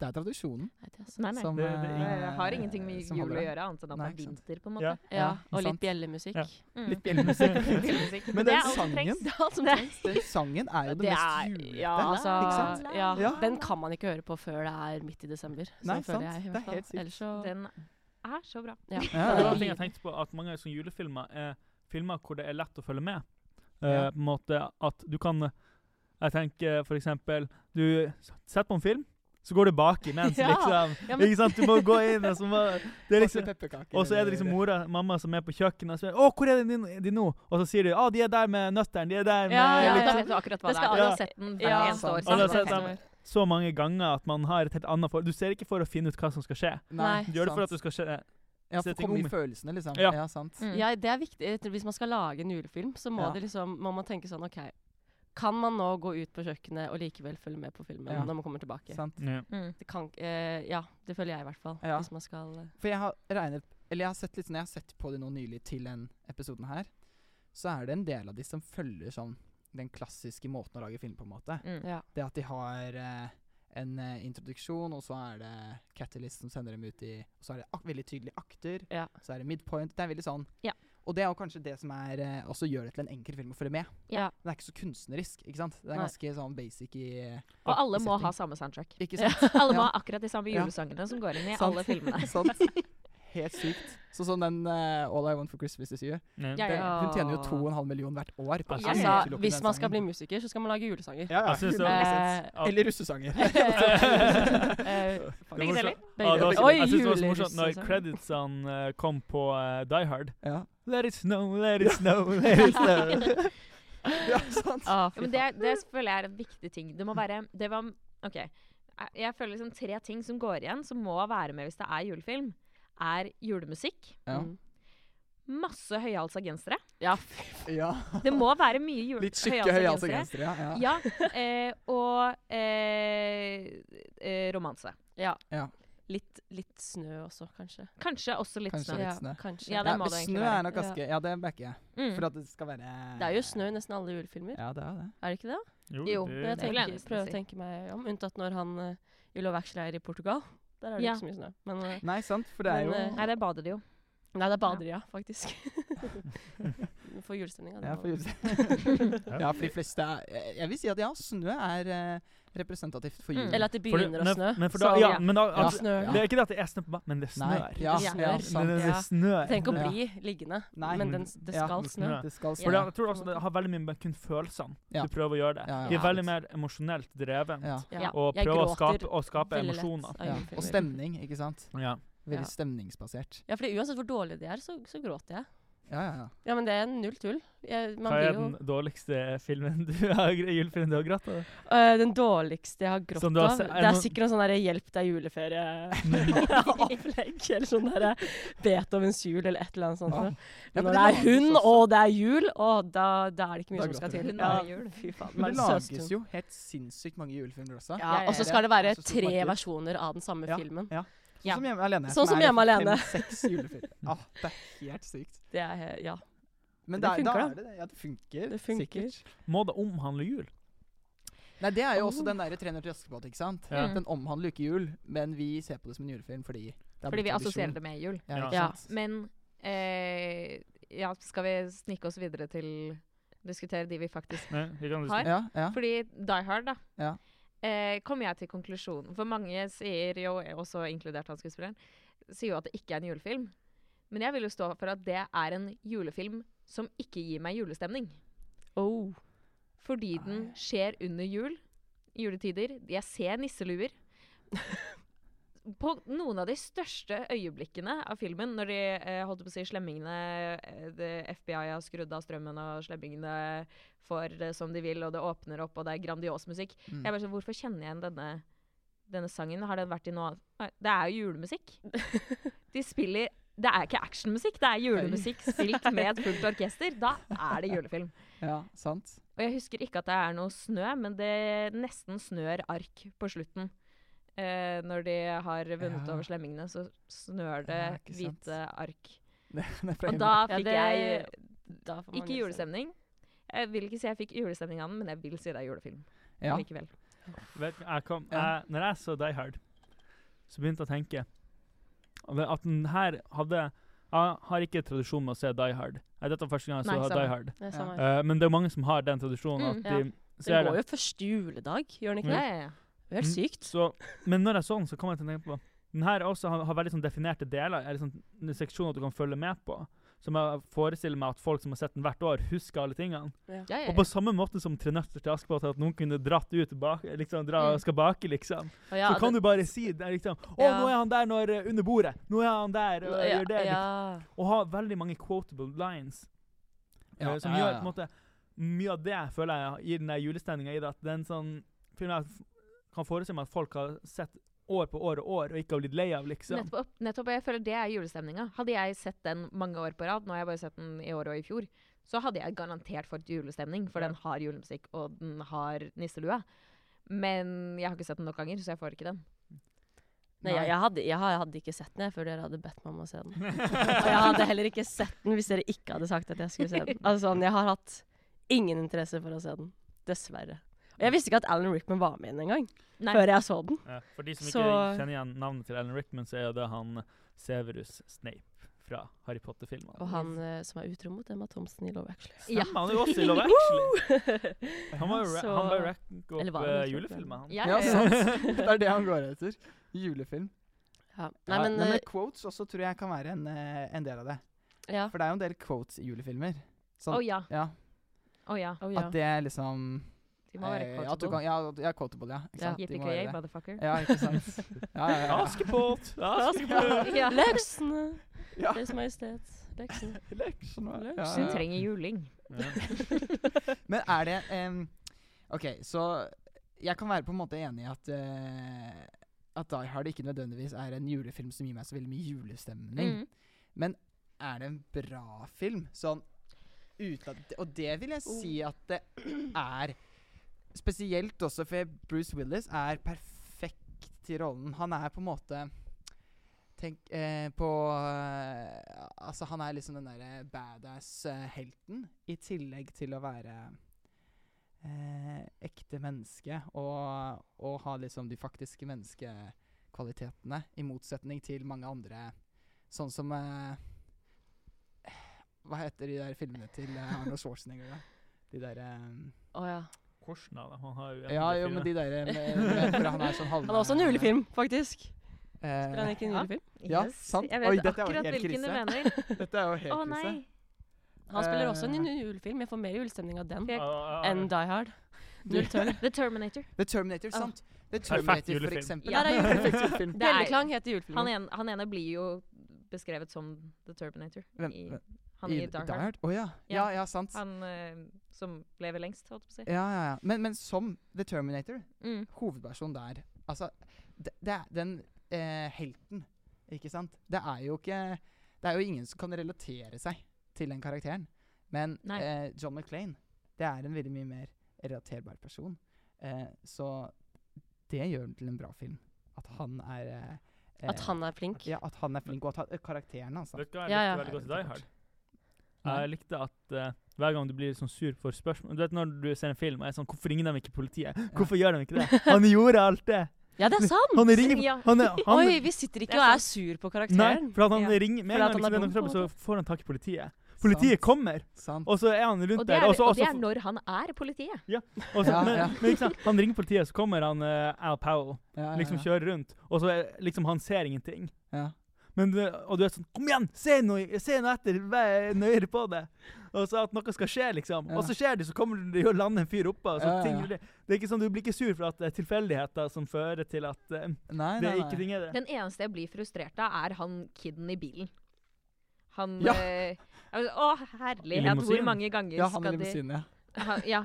S1: Det er tradisjonen
S3: Nei, det er sant.
S4: Nei, nei.
S1: som
S2: Det- det-
S1: eh,
S4: Det har ingenting med
S1: som
S4: jul
S1: holder
S4: å
S1: det.
S4: gjøre, annet enn
S1: Nei,
S4: at det er
S1: ikke sant.
S4: vinter, på en
S2: Ja.
S4: måte.
S3: ja,
S1: Ja,
S3: og
S1: sant.
S3: litt bjellemusikk.
S2: Ja.
S4: Mm.
S1: Litt bjellemusikk.
S4: Bjellemusikk.
S1: Men
S4: Det
S1: den
S4: er alt som
S1: sangen,
S4: trengs.
S3: Det er alt som
S4: Det er-
S3: trengs.
S1: Den sangen er jo det,
S3: Det
S1: mest
S3: er
S1: julete.
S3: ja, altså,
S1: ikke sant?
S3: ja,
S1: Ja.
S3: Den kan man ikke høre på før det er midt i desember. Så
S1: Nei, sant.
S3: føler jeg i
S1: Det
S3: hvert
S1: er helt
S3: fall.
S1: sykt.
S3: Ellers så
S4: Den er så bra.
S3: ja.
S1: Ja,
S2: Det
S1: ja,
S2: var
S1: ja.
S2: en ting jeg tenkte på, at mange sånne julefilmer er filmer hvor det er lett å følge med. Eh,
S1: Ja.
S2: På en måte at du kan Jeg tenker for eksempel Du setter på en film, så går du baki mens,
S3: Ja.
S2: liksom.
S3: Ja, men-
S2: Ikke sant? Du må gå inn, og så må det er
S1: Masse
S2: liksom,
S1: pepperkaker
S2: Og så er det liksom
S1: eller-
S2: mora mamma som er på kjøkkenet og spør 'Å, hvor er de, nå- de nå?' Og så sier de 'Å, de er der med nøtteren', de er der med
S3: Ja, ja,
S4: Men
S3: ja.
S1: sånn.
S4: Da vet du akkurat hva
S3: Det
S4: det,
S3: skal
S4: er. Du
S2: alle-
S4: har sett den hvert
S3: Ja.
S4: eneste år.
S1: Alle
S4: sant?
S2: har sett
S4: Hvert
S2: den.
S4: eneste år.
S2: Så mange ganger at man har et helt annet for Du ser ikke for å finne ut hva som skal skje.
S3: Nei.
S2: Du gjør det for
S1: sant.
S2: at du skal skje
S1: Ja, for
S2: se
S1: å
S2: ting
S1: komme i
S2: om.
S1: følelsene, liksom. Ja,
S2: Ja.
S1: sant.
S4: Mm.
S3: ja, det er viktig. Jeg tror Hvis man skal lage en julefilm, så må
S1: Ja.
S3: det liksom, man må tenke sånn OK. Kan man nå gå ut på kjøkkenet og likevel følge med på filmen
S1: Ja.
S3: når man kommer tilbake?
S1: sant.
S2: Ja.
S4: Mm.
S3: Det kan, eh, ja, det føler jeg i hvert fall.
S1: Ja.
S3: Hvis man skal eh,
S1: For jeg har regnet Eller jeg har sett litt sånn Jeg har sett på det nå nylig til den episoden her. Så er det en del av de som følger sånn den klassiske måten å lage film på, en måte.
S4: Mm.
S3: Ja.
S1: Det at de har eh, en eh, introduksjon, og så er det Catalyst som sender dem ut i Og så er det ak veldig tydelig akter,
S3: Ja.
S1: så er det midpoint Det er veldig sånn.
S4: Ja.
S1: Og det er jo kanskje det som er eh, også gjør det til en enkel film å følge med.
S3: Ja.
S1: Den er ikke så kunstnerisk, ikke sant? Den er
S3: Nei.
S1: ganske sånn basic i
S4: Og alle må
S1: Setting.
S4: ha samme soundtrack.
S1: Ikke sant?
S4: Alle må
S1: Ja.
S4: ha akkurat de samme
S1: Ja.
S4: julesangene som går inn i
S1: Sant.
S4: alle filmene.
S1: Sant. Helt sykt. Så sånn den eh, All I Want for Christmas Is You
S4: Ja,
S1: det,
S4: ja.
S1: Hun tjener jo 2,5 million hvert år. på å
S4: Ja,
S1: synge
S4: ja.
S1: til
S3: Altså,
S1: opp i
S3: hvis
S1: den
S3: man skal bli
S1: sangen.
S3: musiker, så skal man lage julesanger.
S1: ja, Altså, ja.
S2: Jeg synes det-
S1: 100%.
S3: Eh,
S2: at-
S1: Eller russesanger.
S3: eh,
S2: Det var
S4: Begge
S2: så-
S4: deler.
S2: Ja, det var så-
S3: Oi,
S2: jeg synes det var så
S3: julerus,
S2: morsomt når
S3: liksom.
S2: creditsene eh, kom på eh, Die Hard.
S1: ja.
S2: Let it snow, let it snow, let it snow.
S1: ja, sant.
S3: Ah,
S4: Ja, men det, er- det føler jeg er en viktig ting. Det må være det var, OK. Jeg- Jeg føler liksom tre ting som går igjen, som må være med hvis det er julefilm, er julemusikk.
S1: Ja.
S3: Mm.
S4: Masse høyhalsa gensere.
S3: ja, fy
S1: ja.
S4: Det må være mye jule
S1: Litt skikke høyhalsa gensere. Ja, ja.
S4: Ja. Eh, og eh, eh, romanse.
S3: litt, litt snø også, kanskje.
S4: Kanskje også litt
S1: Kanskje
S4: snø.
S1: litt
S3: Ja,
S1: snø.
S3: kanskje.
S4: Ja, det
S1: Ja,
S4: må det egentlig
S1: snø
S4: være.
S1: er nok ganske Ja, det backer jeg.
S4: Mm.
S1: For at det skal være
S3: Det er jo snø i nesten alle julefilmer,
S1: Ja, det er det.
S3: er det ikke det?
S4: Jo,
S3: Når jeg
S4: det vil jeg
S3: tenker,
S4: nesten
S3: prøver
S4: si.
S3: å tenke meg om, unntatt når han eh, i Love Actually er i Portugal. Der er det
S4: Ja.
S3: ikke så mye snø. Men eh,
S1: Nei, sant, for det er
S3: Men,
S1: jo
S3: eh,
S4: Nei, der bader de jo.
S3: nei, det er bader, ja, faktisk. For julestemninga.
S1: ja, for, ja, for de fleste er, Jeg vil si at ja, snø er eh, representativt for
S4: Mm.
S1: jul.
S3: Eller at det
S2: For det-
S3: begynner å
S2: nei,
S3: snø.
S2: Men for da,
S3: Så-
S2: ja, men da
S1: Ja.
S2: at,
S3: Snør.
S2: Det er ikke det at det er snø på meg, men det
S1: Nei,
S2: snør.
S1: ja,
S3: Det
S1: ja,
S3: snør.
S1: sant.
S2: det, det
S3: Ja.
S2: snør.
S3: Tenk å
S1: Ja.
S3: bli liggende,
S1: Nei,
S2: men-
S3: men den, s- det
S1: ja,
S3: skal
S1: den
S3: snø.
S2: snø.
S1: Det skal
S2: For det,
S1: snø.
S2: jeg tror også det har veldig mye med kun følelsene
S1: Ja.
S2: du prøver å gjøre det.
S1: Ja, ja.
S2: De er veldig mer emosjonelt dreven.
S1: Ja.
S3: Ja.
S2: Og
S3: Jeg
S2: prøver å
S3: gråter
S2: skape, å skape
S3: veldig lett
S2: emosjoner.
S3: av
S1: Ja.
S3: julefilmer.
S1: Og stemning, ikke sant.
S2: Ja.
S1: Veldig
S3: Ja.
S1: stemningsbasert.
S3: Ja, fordi uansett hvor dårlig de er, så, så gråter jeg.
S1: Ja, ja, ja.
S3: Ja, men det er null tull. Jeg, man
S2: Hva er
S3: blir jo
S2: den dårligste filmen du har, julefilmen du har grått av?
S3: Øh, Den dårligste jeg har grått
S2: Som du har
S3: av.
S2: se- er
S3: Det er
S2: noen-
S3: sikkert noen sånn derre 'Hjelp, det er juleferie'-opplegg. eller sånn derre 'Beethovens jul' eller et eller annet sånt.
S1: Ja.
S3: noe.
S1: Ja,
S3: Men
S1: for
S3: når
S1: det
S3: det er
S1: lages sånn-
S3: hund,
S1: også.
S3: og det er jul, og da, da er det ikke mye
S1: Da
S3: som skal
S1: gråter
S3: til.
S4: du. Hun er jul.
S3: fy faen.
S1: Men det
S3: bare
S1: lages
S3: søsteren.
S1: jo helt sinnssykt mange julefilmer også.
S3: Ja,
S4: Ja,
S3: og så
S1: ja,
S3: skal det være
S1: ja. Så stor
S3: tre
S1: marked.
S3: versjoner av den samme
S1: Ja.
S3: filmen.
S1: Sånn som Hjemme alene.
S3: Sånn som
S1: er
S3: Hjemme
S1: liksom
S3: alene.
S1: Fem-seks julefilmer. Ah, det er helt sykt.
S3: Det er, he- ja.
S1: Men
S3: Det
S1: det er, da
S3: funker,
S1: er det det. Ja, det funker.
S3: Det funker.
S1: Sikkert.
S2: Må det omhandle jul?
S1: Nei, det er jo
S3: Oh.
S1: også den derre 300 til Askepott, ikke sant.
S4: Ja.
S1: Den omhandler jo ikke jul, men vi ser på det som en julefilm fordi det er
S4: Fordi vi
S1: blitt
S4: assosierer
S1: tradisjon.
S4: det med jul.
S1: Ja, ikke
S3: Ja.
S1: sant?
S4: Men eh, ja, skal vi snike oss videre til å diskutere de vi faktisk
S2: Nei, vi kan
S4: Har?
S1: Ja, ja.
S4: Fordi Die Hard, da.
S1: Ja.
S4: Eh, kommer jeg til konklusjonen. For mange sier jo, også inkludert han skuespilleren, sier jo at det ikke er en julefilm. Men jeg vil jo stå for at det er en julefilm som ikke gir meg julestemning.
S3: Oh.
S4: Fordi den
S1: Nei.
S4: skjer under jul, juletider. Jeg ser nisseluer. på noen av de største øyeblikkene av filmen, når de eh, holdt på å si slemmingene eh, det- FBI har skrudd av strømmen, og slemmingene får det som de vil, og det åpner opp, og det er grandios musikk.
S1: Mm.
S4: Jeg bare sånn, Hvorfor kjenner jeg igjen denne, denne sangen? Har den vært i noe annet? Nei, Det er jo julemusikk. De spiller Det er ikke actionmusikk, det er julemusikk spilt med et fullt orkester. Da er det julefilm.
S1: ja, sant.
S4: Og jeg husker ikke at det er noe snø, men det nesten snør ark på slutten. Eh, når de har vunnet
S1: Ja.
S4: over slemmingene, så snør det
S1: Ja, ikke sant.
S4: hvite ark.
S1: Det, det er fra
S4: Og
S1: Hjemme
S3: Ja,
S4: da fikk
S3: det-
S4: jeg
S3: eh, Da får man
S4: ikke julestemning. Jeg vil ikke si jeg fikk julestemning av den, men jeg vil si det er julefilm
S1: Ja.
S4: likevel.
S2: Vet, du, jeg kom,
S1: Ja.
S2: jeg, når jeg så Die Hard, så begynte jeg å tenke at den her hadde Jeg har ikke tradisjon med å se Die Hard. Nei, Dette var første gang jeg
S4: Nei,
S2: så
S4: samme.
S2: Die Hard.
S3: Det er samme her.
S2: Eh, men det er jo mange som har den tradisjonen.
S4: Mm,
S2: at de
S3: Den
S2: ser
S3: går
S2: det.
S3: jo første juledag, gjør den ikke
S4: Ja,
S3: det?
S4: ja, ja.
S3: Det er helt
S2: Mm.
S3: sykt.
S2: Så, men når jeg så den, så kom jeg til å tenke på Den her også har, har veldig sånn definerte deler, eller sånn seksjoner du kan følge med på. Som jeg forestiller meg at folk som har sett den hvert år, husker alle tingene.
S4: Ja, ja,
S2: Og på samme måte som Tre nøtter til Askepott, at noen kunne dratt ut bak, liksom, dra,
S4: Mm.
S2: skal bake, liksom.
S4: Og ja,
S2: så kan
S4: det-
S2: du bare si det, er liksom Å,
S3: Ja.
S2: nå er han der når, eh, under bordet! Nå er han der og
S3: Ja,
S2: gjør det!
S3: ja.
S2: Og ha veldig mange quotable lines
S1: Ja,
S2: eh, som
S1: ja, ja,
S2: gjør på en måte Mye av det føler jeg gir den der julestemninga i det. At den sånn filmen jeg f- kan forestille meg at folk har sett år på år og år og ikke har blitt lei av, liksom.
S4: Nettopp, nettopp, og jeg føler det er julestemninga. Hadde jeg sett den mange år på rad, nå har jeg bare sett den i år og i fjor, så hadde jeg garantert fått julestemning, for
S2: Ja.
S4: den har julemusikk, og den har nisselue. Men jeg har ikke sett den nok ganger, så jeg får ikke den.
S3: Nei,
S1: Nei.
S3: jeg, jeg, hadde, jeg, har- jeg hadde ikke sett den jeg, før dere hadde bedt meg om å se den. Og jeg hadde heller ikke sett den hvis dere ikke hadde sagt at jeg skulle se den. Altså, sånn, jeg har hatt ingen interesse for å se den. Dessverre. Og jeg visste ikke at Alan Rickman var med i den engang,
S4: Nei.
S3: før jeg så den.
S2: Ja, For de som ikke
S3: Så-
S2: kjenner igjen navnet til Alan Rickman, så er jo det han Severus Snape fra Harry Potter-filmene.
S3: Og han eh, som er utro mot Emma Thomsen i Love Actually.
S4: Ja.
S2: Stemmer, han er jo også i Love Actually! Han var jo ra-
S3: Så-
S2: han var jo rack
S3: Eller
S2: opp
S3: var han
S2: eh,
S3: også
S2: julefilmer, han.
S1: Ja, sant. Det er det han går etter. Julefilm.
S3: Ja. Nei, men,
S1: ja,
S3: eh,
S1: men quotes også tror jeg kan være en, eh, en del av det.
S3: ja.
S1: For det er jo en del quotes i julefilmer.
S4: Å
S1: Sånn,
S4: ja.
S1: ja,
S4: Å ja.
S3: Oh, ja.
S1: At det er liksom
S4: De må være
S1: eh, at du
S4: quotable.
S1: kan, ja, at- ja, quotable, ja. Ikke
S3: Ja.
S1: sant? De må
S4: Yippee-ki-yay,
S1: være det.
S4: motherfucker.
S1: Ja, ikke sant. Ja, ja, ja.
S2: Askepott! Askepott!
S4: Ja.
S3: Leksene!
S1: Ja.
S3: Deres Majestet. Leksene.
S2: sånn
S1: Leksjon, ja, ja,
S4: Hun
S1: ja.
S4: trenger juling.
S2: Ja.
S1: Men er det em, OK, så jeg kan være på en måte enig i at eh, at Die Hard ikke nødvendigvis er en julefilm som gir meg så veldig mye julestemning.
S4: Mm.
S1: er det en bra film. Sånn uten at Og det vil jeg si at det er. Spesielt også for Bruce Willis er perfekt til rollen. Han er på en måte Tenk eh, på eh, Altså, han er liksom den derre badass-helten, i tillegg til å være eh, ekte menneske og, og ha liksom de faktiske menneskekvalitetene, i motsetning til mange andre, sånn som eh, hva heter de der filmene til eh, Arnold Schwarzenegger? da? De der eh,
S3: Å ja.
S2: Hvordan av dem? Han har jo en
S1: Ja,
S2: av de
S1: jo,
S2: filmene.
S1: men de der eh, med, med, hvor han er sånn halv...
S3: Han har også en julefilm, faktisk. Spiller han
S1: Eh,
S3: ikke en
S4: Ja.
S3: julefilm?
S1: Ja,
S4: Yes.
S1: sant.
S4: Jeg vet
S1: Oi, dette er jo
S4: akkurat
S1: helt
S4: hvilken du
S1: krise.
S4: mener.
S1: dette er jo
S4: Å
S1: helt
S4: nei.
S1: krise.
S3: Han spiller også en
S1: Eh.
S3: julefilm. Jeg får mer julestemning av den
S4: Jeg-
S2: Ah, ah, ah.
S3: enn Die Hard. Null tørn.
S4: The Terminator.
S1: The Terminator,
S3: Ah.
S1: sant. The
S2: Perfekt
S1: Terminator, for
S2: julefilm.
S1: eksempel.
S3: Ja, det er jo-
S1: perfekt julefilm.
S4: Det er-
S3: Bjelleklang heter
S4: Han
S3: julefilmen.
S4: ene, han ene blir jo beskrevet som The Terminator.
S1: Hvem-
S4: I,
S1: hvem-
S4: han i Dark Heart.
S1: Å ja. ja.
S4: Ja.
S1: Ja, sant. Ja,
S4: Han eh, som lever lengst, holdt jeg på å si.
S1: ja, ja. Men, men som The Terminator,
S4: Mm.
S1: hovedpersonen der Altså, det, det er den eh, helten, ikke sant? Det er jo ikke Det er jo ingen som kan relatere seg til den karakteren. Men
S4: Nei.
S1: eh, John McClain, det er en veldig mye mer relaterbar person. Eh, så det gjør den til en bra film. At han er eh,
S3: At han er flink.
S1: ja, at han er flink, og at han, karakteren altså. hans da.
S2: Vet du hva jeg
S3: Ja,
S2: likte
S3: ja.
S2: veldig godt i Die Hard?
S1: Nei.
S2: Jeg likte at eh, hver gang du blir sånn sur for spørsmål Du vet når du ser en film og er sånn 'Hvorfor ringer de ikke politiet?' Hvorfor gjør de ikke det? Han gjorde alt det!
S3: Ja, det er sant!
S2: Han ringer
S4: Ja.
S2: han, er- han,
S3: Oi, vi sitter ikke
S4: Det er
S3: og er sur på
S2: Nei,
S3: karakteren.
S2: for at han
S4: Ja.
S2: ringer Med
S3: Fordi
S2: en
S3: at
S2: gang
S3: han er
S2: liksom,
S3: dum, på en
S2: så får han tak i politiet. Politiet kommer,
S1: Sant.
S2: og så er han rundt
S4: Og det,
S2: der.
S4: er,
S2: Og så,
S4: og
S2: og
S4: det
S2: så,
S4: er når han er politiet.
S2: og så,
S1: Ja,
S2: men,
S1: ja.
S2: men ikke sant, han ringer politiet, så kommer han eh, Al Powell.
S1: Ja, ja,
S2: Liksom
S1: ja.
S2: kjører rundt, og så er, liksom han ser ingenting.
S1: Ja.
S2: Men du, og du er sånn 'Kom igjen, se noe, se noe etter, vær nøyere på det.' Og så at noe skal skje, liksom. Og så skjer det, så kommer det og lander en fyr oppå. og Så
S1: Ja, ja,
S2: ting,
S1: ja.
S2: Det er ikke sånn, Du blir ikke sur for at det er tilfeldigheter som fører til at eh,
S1: Nei,
S2: det
S1: nei,
S2: er
S1: nei.
S2: ikke ting er det.
S4: Den eneste jeg blir frustrert av, er han kiden i bilen. Han
S1: Ja.
S4: eh, jeg var sånn, Å, herlighet!
S2: limousinen?
S4: Hvor mange ganger
S1: Ja, han i
S4: skal de
S1: limousinen, ja.
S4: ha, ja.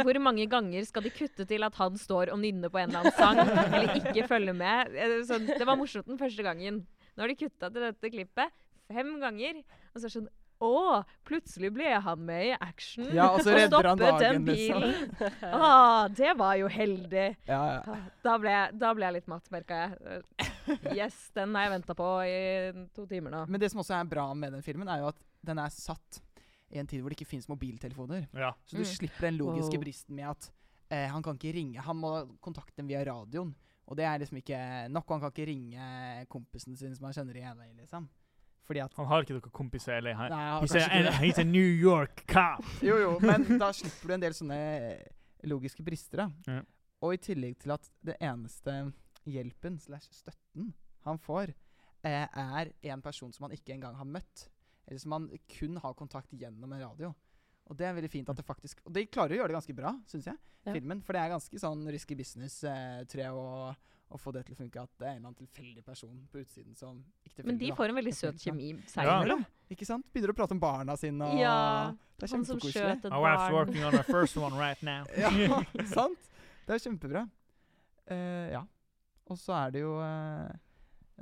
S4: Hvor mange ganger skal de kutte til at han står og nynner på en eller annen sang, eller ikke følger med? Eh, Så det var morsomt den første gangen. Nå har de kutta til dette klippet fem ganger. Og så er det sånn Å, plutselig ble han med i action.
S1: Ja, og så redder han
S4: stoppet
S1: dagen,
S4: den
S1: liksom.
S4: bilen. Ah, det var jo heldig.
S1: Ja, ja.
S4: Ah, Da ble, jeg- da ble jeg litt matt, merka jeg. Eh, Yes, den har jeg venta på i to timer nå.
S1: Men det som også er bra med den filmen, er jo at den er satt i en tid hvor det ikke fins mobiltelefoner.
S2: Ja.
S1: Så du
S4: Mm.
S1: slipper den logiske
S3: Wow.
S1: bristen med at eh, han kan ikke ringe. Han må kontakte dem via radioen. Og det er liksom ikke nok. og Han kan ikke ringe kompisen sin som han kjenner i LA, liksom. Fordi at
S2: Han har ikke noen kompiser. eller
S1: Nei,
S2: han-
S1: han,
S2: He's a,
S1: kanskje ikke,
S2: he's a New York cop.
S1: jo, jo, men da slipper du en del sånne eh, logiske brister, da.
S2: Ja.
S1: Og i tillegg til at det eneste hjelpen slash støtten han får, eh, er en person som han ikke engang har møtt. Eller som han kun har kontakt gjennom en radio. Og det er veldig fint at det faktisk Og de klarer å gjøre det ganske bra, syns jeg.
S3: Ja.
S1: Filmen. For det er ganske sånn risky business, eh, tror jeg, å, å få det til å funke. At det er en eller annen tilfeldig person på utsiden som ikke
S4: Men de
S1: da.
S4: får en veldig søt kjemi seg
S2: Ja.
S4: imellom.
S1: Ikke sant? Begynner å prate om barna sine og
S4: Ja,
S1: Det er
S4: Han som
S1: kjempekoselig.
S4: skjøt et
S2: My wife's
S4: barn.
S2: working on her first one right now.
S1: Ja, sant? Det er kjempebra. Eh, ja. Og så er det jo eh,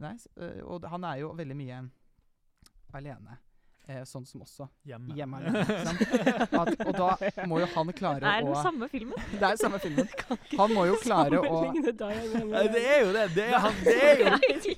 S1: Nei, s- eh, og d- han er jo veldig mye alene. Eh, sånn som også
S2: Hjemme.
S1: hjemme alene. ikke sant? At, og da må jo han
S4: Er
S1: klare
S4: den
S1: å
S4: samme filmen?
S1: Det er samme filmen. Han må jo klare å
S2: Ja, Det er jo det. Det er, han, det er jo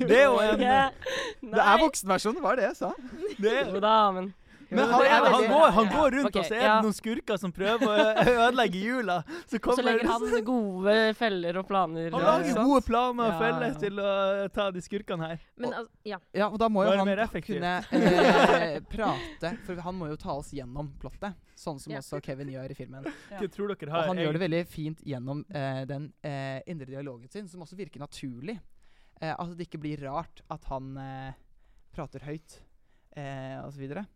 S2: det er jo en-
S1: Det er voksenversjonen, var det jeg sa?
S2: det er,
S3: Jo da, men
S1: Men
S2: Men
S1: han
S2: han,
S1: er veldig-
S2: går, han går rundt,
S3: Ok,
S2: og så er
S3: ja.
S2: det noen skurker som prøver å ø- ødelegge jula. Så,
S3: Og så
S2: kommer,
S3: legger han gode feller og planer.
S2: han
S1: Ja,
S3: og-
S2: lager
S1: sant?
S2: gode planer og
S3: Ja,
S2: feller
S3: ja.
S2: til å ta de skurkene her.
S4: Men
S1: Og-
S4: altså, ja.
S1: Ja, og da må jo
S2: Bare
S1: han
S2: mer effektivt.
S1: kunne eh, prate, for han må jo ta oss gjennom plottet. Sånn som
S4: Ja.
S1: også Kevin gjør i filmen.
S3: Ja.
S2: Hva tror dere
S1: Og
S2: har
S1: han gjør det veldig fint gjennom eh, den eh, indre dialogen sin, som også virker naturlig. Eh, altså det ikke blir rart at han eh, prater høyt, eh, og så videre.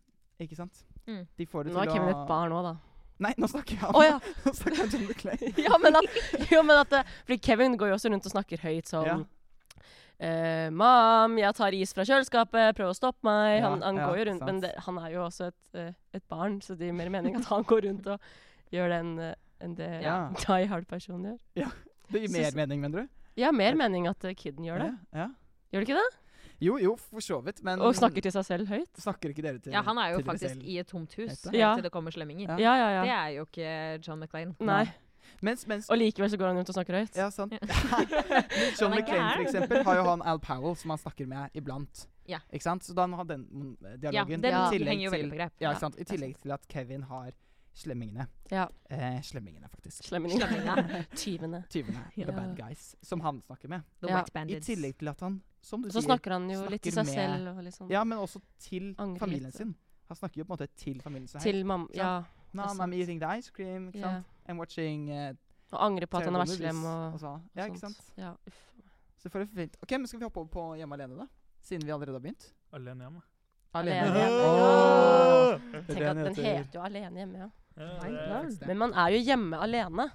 S1: Ikke sant?
S4: Mm.
S1: De får det
S3: Nå er
S1: til
S3: Kevin
S1: å
S3: et barn òg, da.
S1: Nei, nå snakker jeg
S3: Å
S1: om
S3: ja.
S1: Nå snakker jeg om John McClane.
S3: ja, men at, jo, men at det, Fordi Kevin går jo også rundt og snakker høyt sånn
S1: Ja.
S3: eh, Mam, jeg tar is fra kjøleskapet, prøv å stoppe meg.
S1: Ja,
S3: Han, han
S1: ja,
S3: går jo rundt,
S1: sant.
S3: men det, han er jo også et, eh, et barn, så det gir mer mening at han går rundt og gjør det enn eh, enn det
S1: Ja.
S3: Die Hard-personen gjør.
S1: Det gir mer
S3: Syns-
S1: mening, mener du?
S3: Ja, mer mening at eh, kiden gjør det.
S1: Ja, ja.
S3: Gjør det ikke det?
S1: Jo, jo, for så vidt, men
S3: Og snakker til seg selv høyt.
S1: snakker ikke dere til
S4: ja, han er jo
S1: til dere
S4: faktisk
S1: selv?
S4: i et tomt hus
S1: Dette?
S3: Ja.
S4: helt til det kommer slemminger.
S1: Ja.
S3: Ja, ja, ja.
S4: Det er jo ikke John McClain.
S3: Nei.
S1: Mens, mens
S3: Og likevel så går han rundt og snakker høyt.
S1: Ja, sant. John
S4: Han er
S1: McClane, for
S4: gæren.
S1: eksempel, har jo han Al Powell som han snakker med iblant.
S4: Ja.
S1: Ikke sant? Så da han har den mm,
S4: Ja,
S1: dialogen. i
S4: den henger
S1: tillegg
S4: jo
S1: til
S4: veldig på greip.
S1: Ja,
S4: Ja.
S1: ikke sant? I tillegg til at Kevin har slemmingene.
S3: Ja.
S1: Eh, slemmingene, faktisk.
S3: Slemmingen.
S4: Slemmingen.
S3: Tyvene.
S1: Tyvene. The
S3: Ja.
S1: bad guys. Som han snakker med.
S4: The
S3: Ja.
S1: I
S4: White Bandits.
S1: tillegg til at han, som du
S3: Så
S1: sier
S3: snakker han jo litt til
S1: snakker
S3: seg
S1: med-
S3: selv og litt sånn.
S1: Ja, men også til
S3: Angrer
S1: familien
S3: litt.
S1: sin. Han snakker jo på en måte til familien sin.
S3: Til mamma.
S1: sant?
S3: Ja.
S1: Now
S3: sant.
S1: I'm eating the ice cream, ikke
S3: Ja.
S1: sant? I'm watching eh,
S3: Og angre på at han har vært
S1: Cerebrally
S3: slem
S1: bliss
S3: og,
S1: sånn.
S3: og
S1: Ja, ikke
S3: sånt.
S1: sant.
S3: Ja, uff.
S1: Så får det fint. Ok, men Skal vi hoppe over på Hjemme alene, da? Siden vi allerede har begynt.
S2: Alene hjemme.
S3: Alene
S1: Alene.
S3: hjemme.
S1: Åh! Det
S3: Tenk
S1: er det
S3: at den
S1: heter.
S3: heter jo Alene hjemme, ja.
S2: Ja,
S4: Nei,
S2: det er
S4: da.
S2: faktisk-
S1: Eh, Det-
S3: Men man er jo hjemme alene.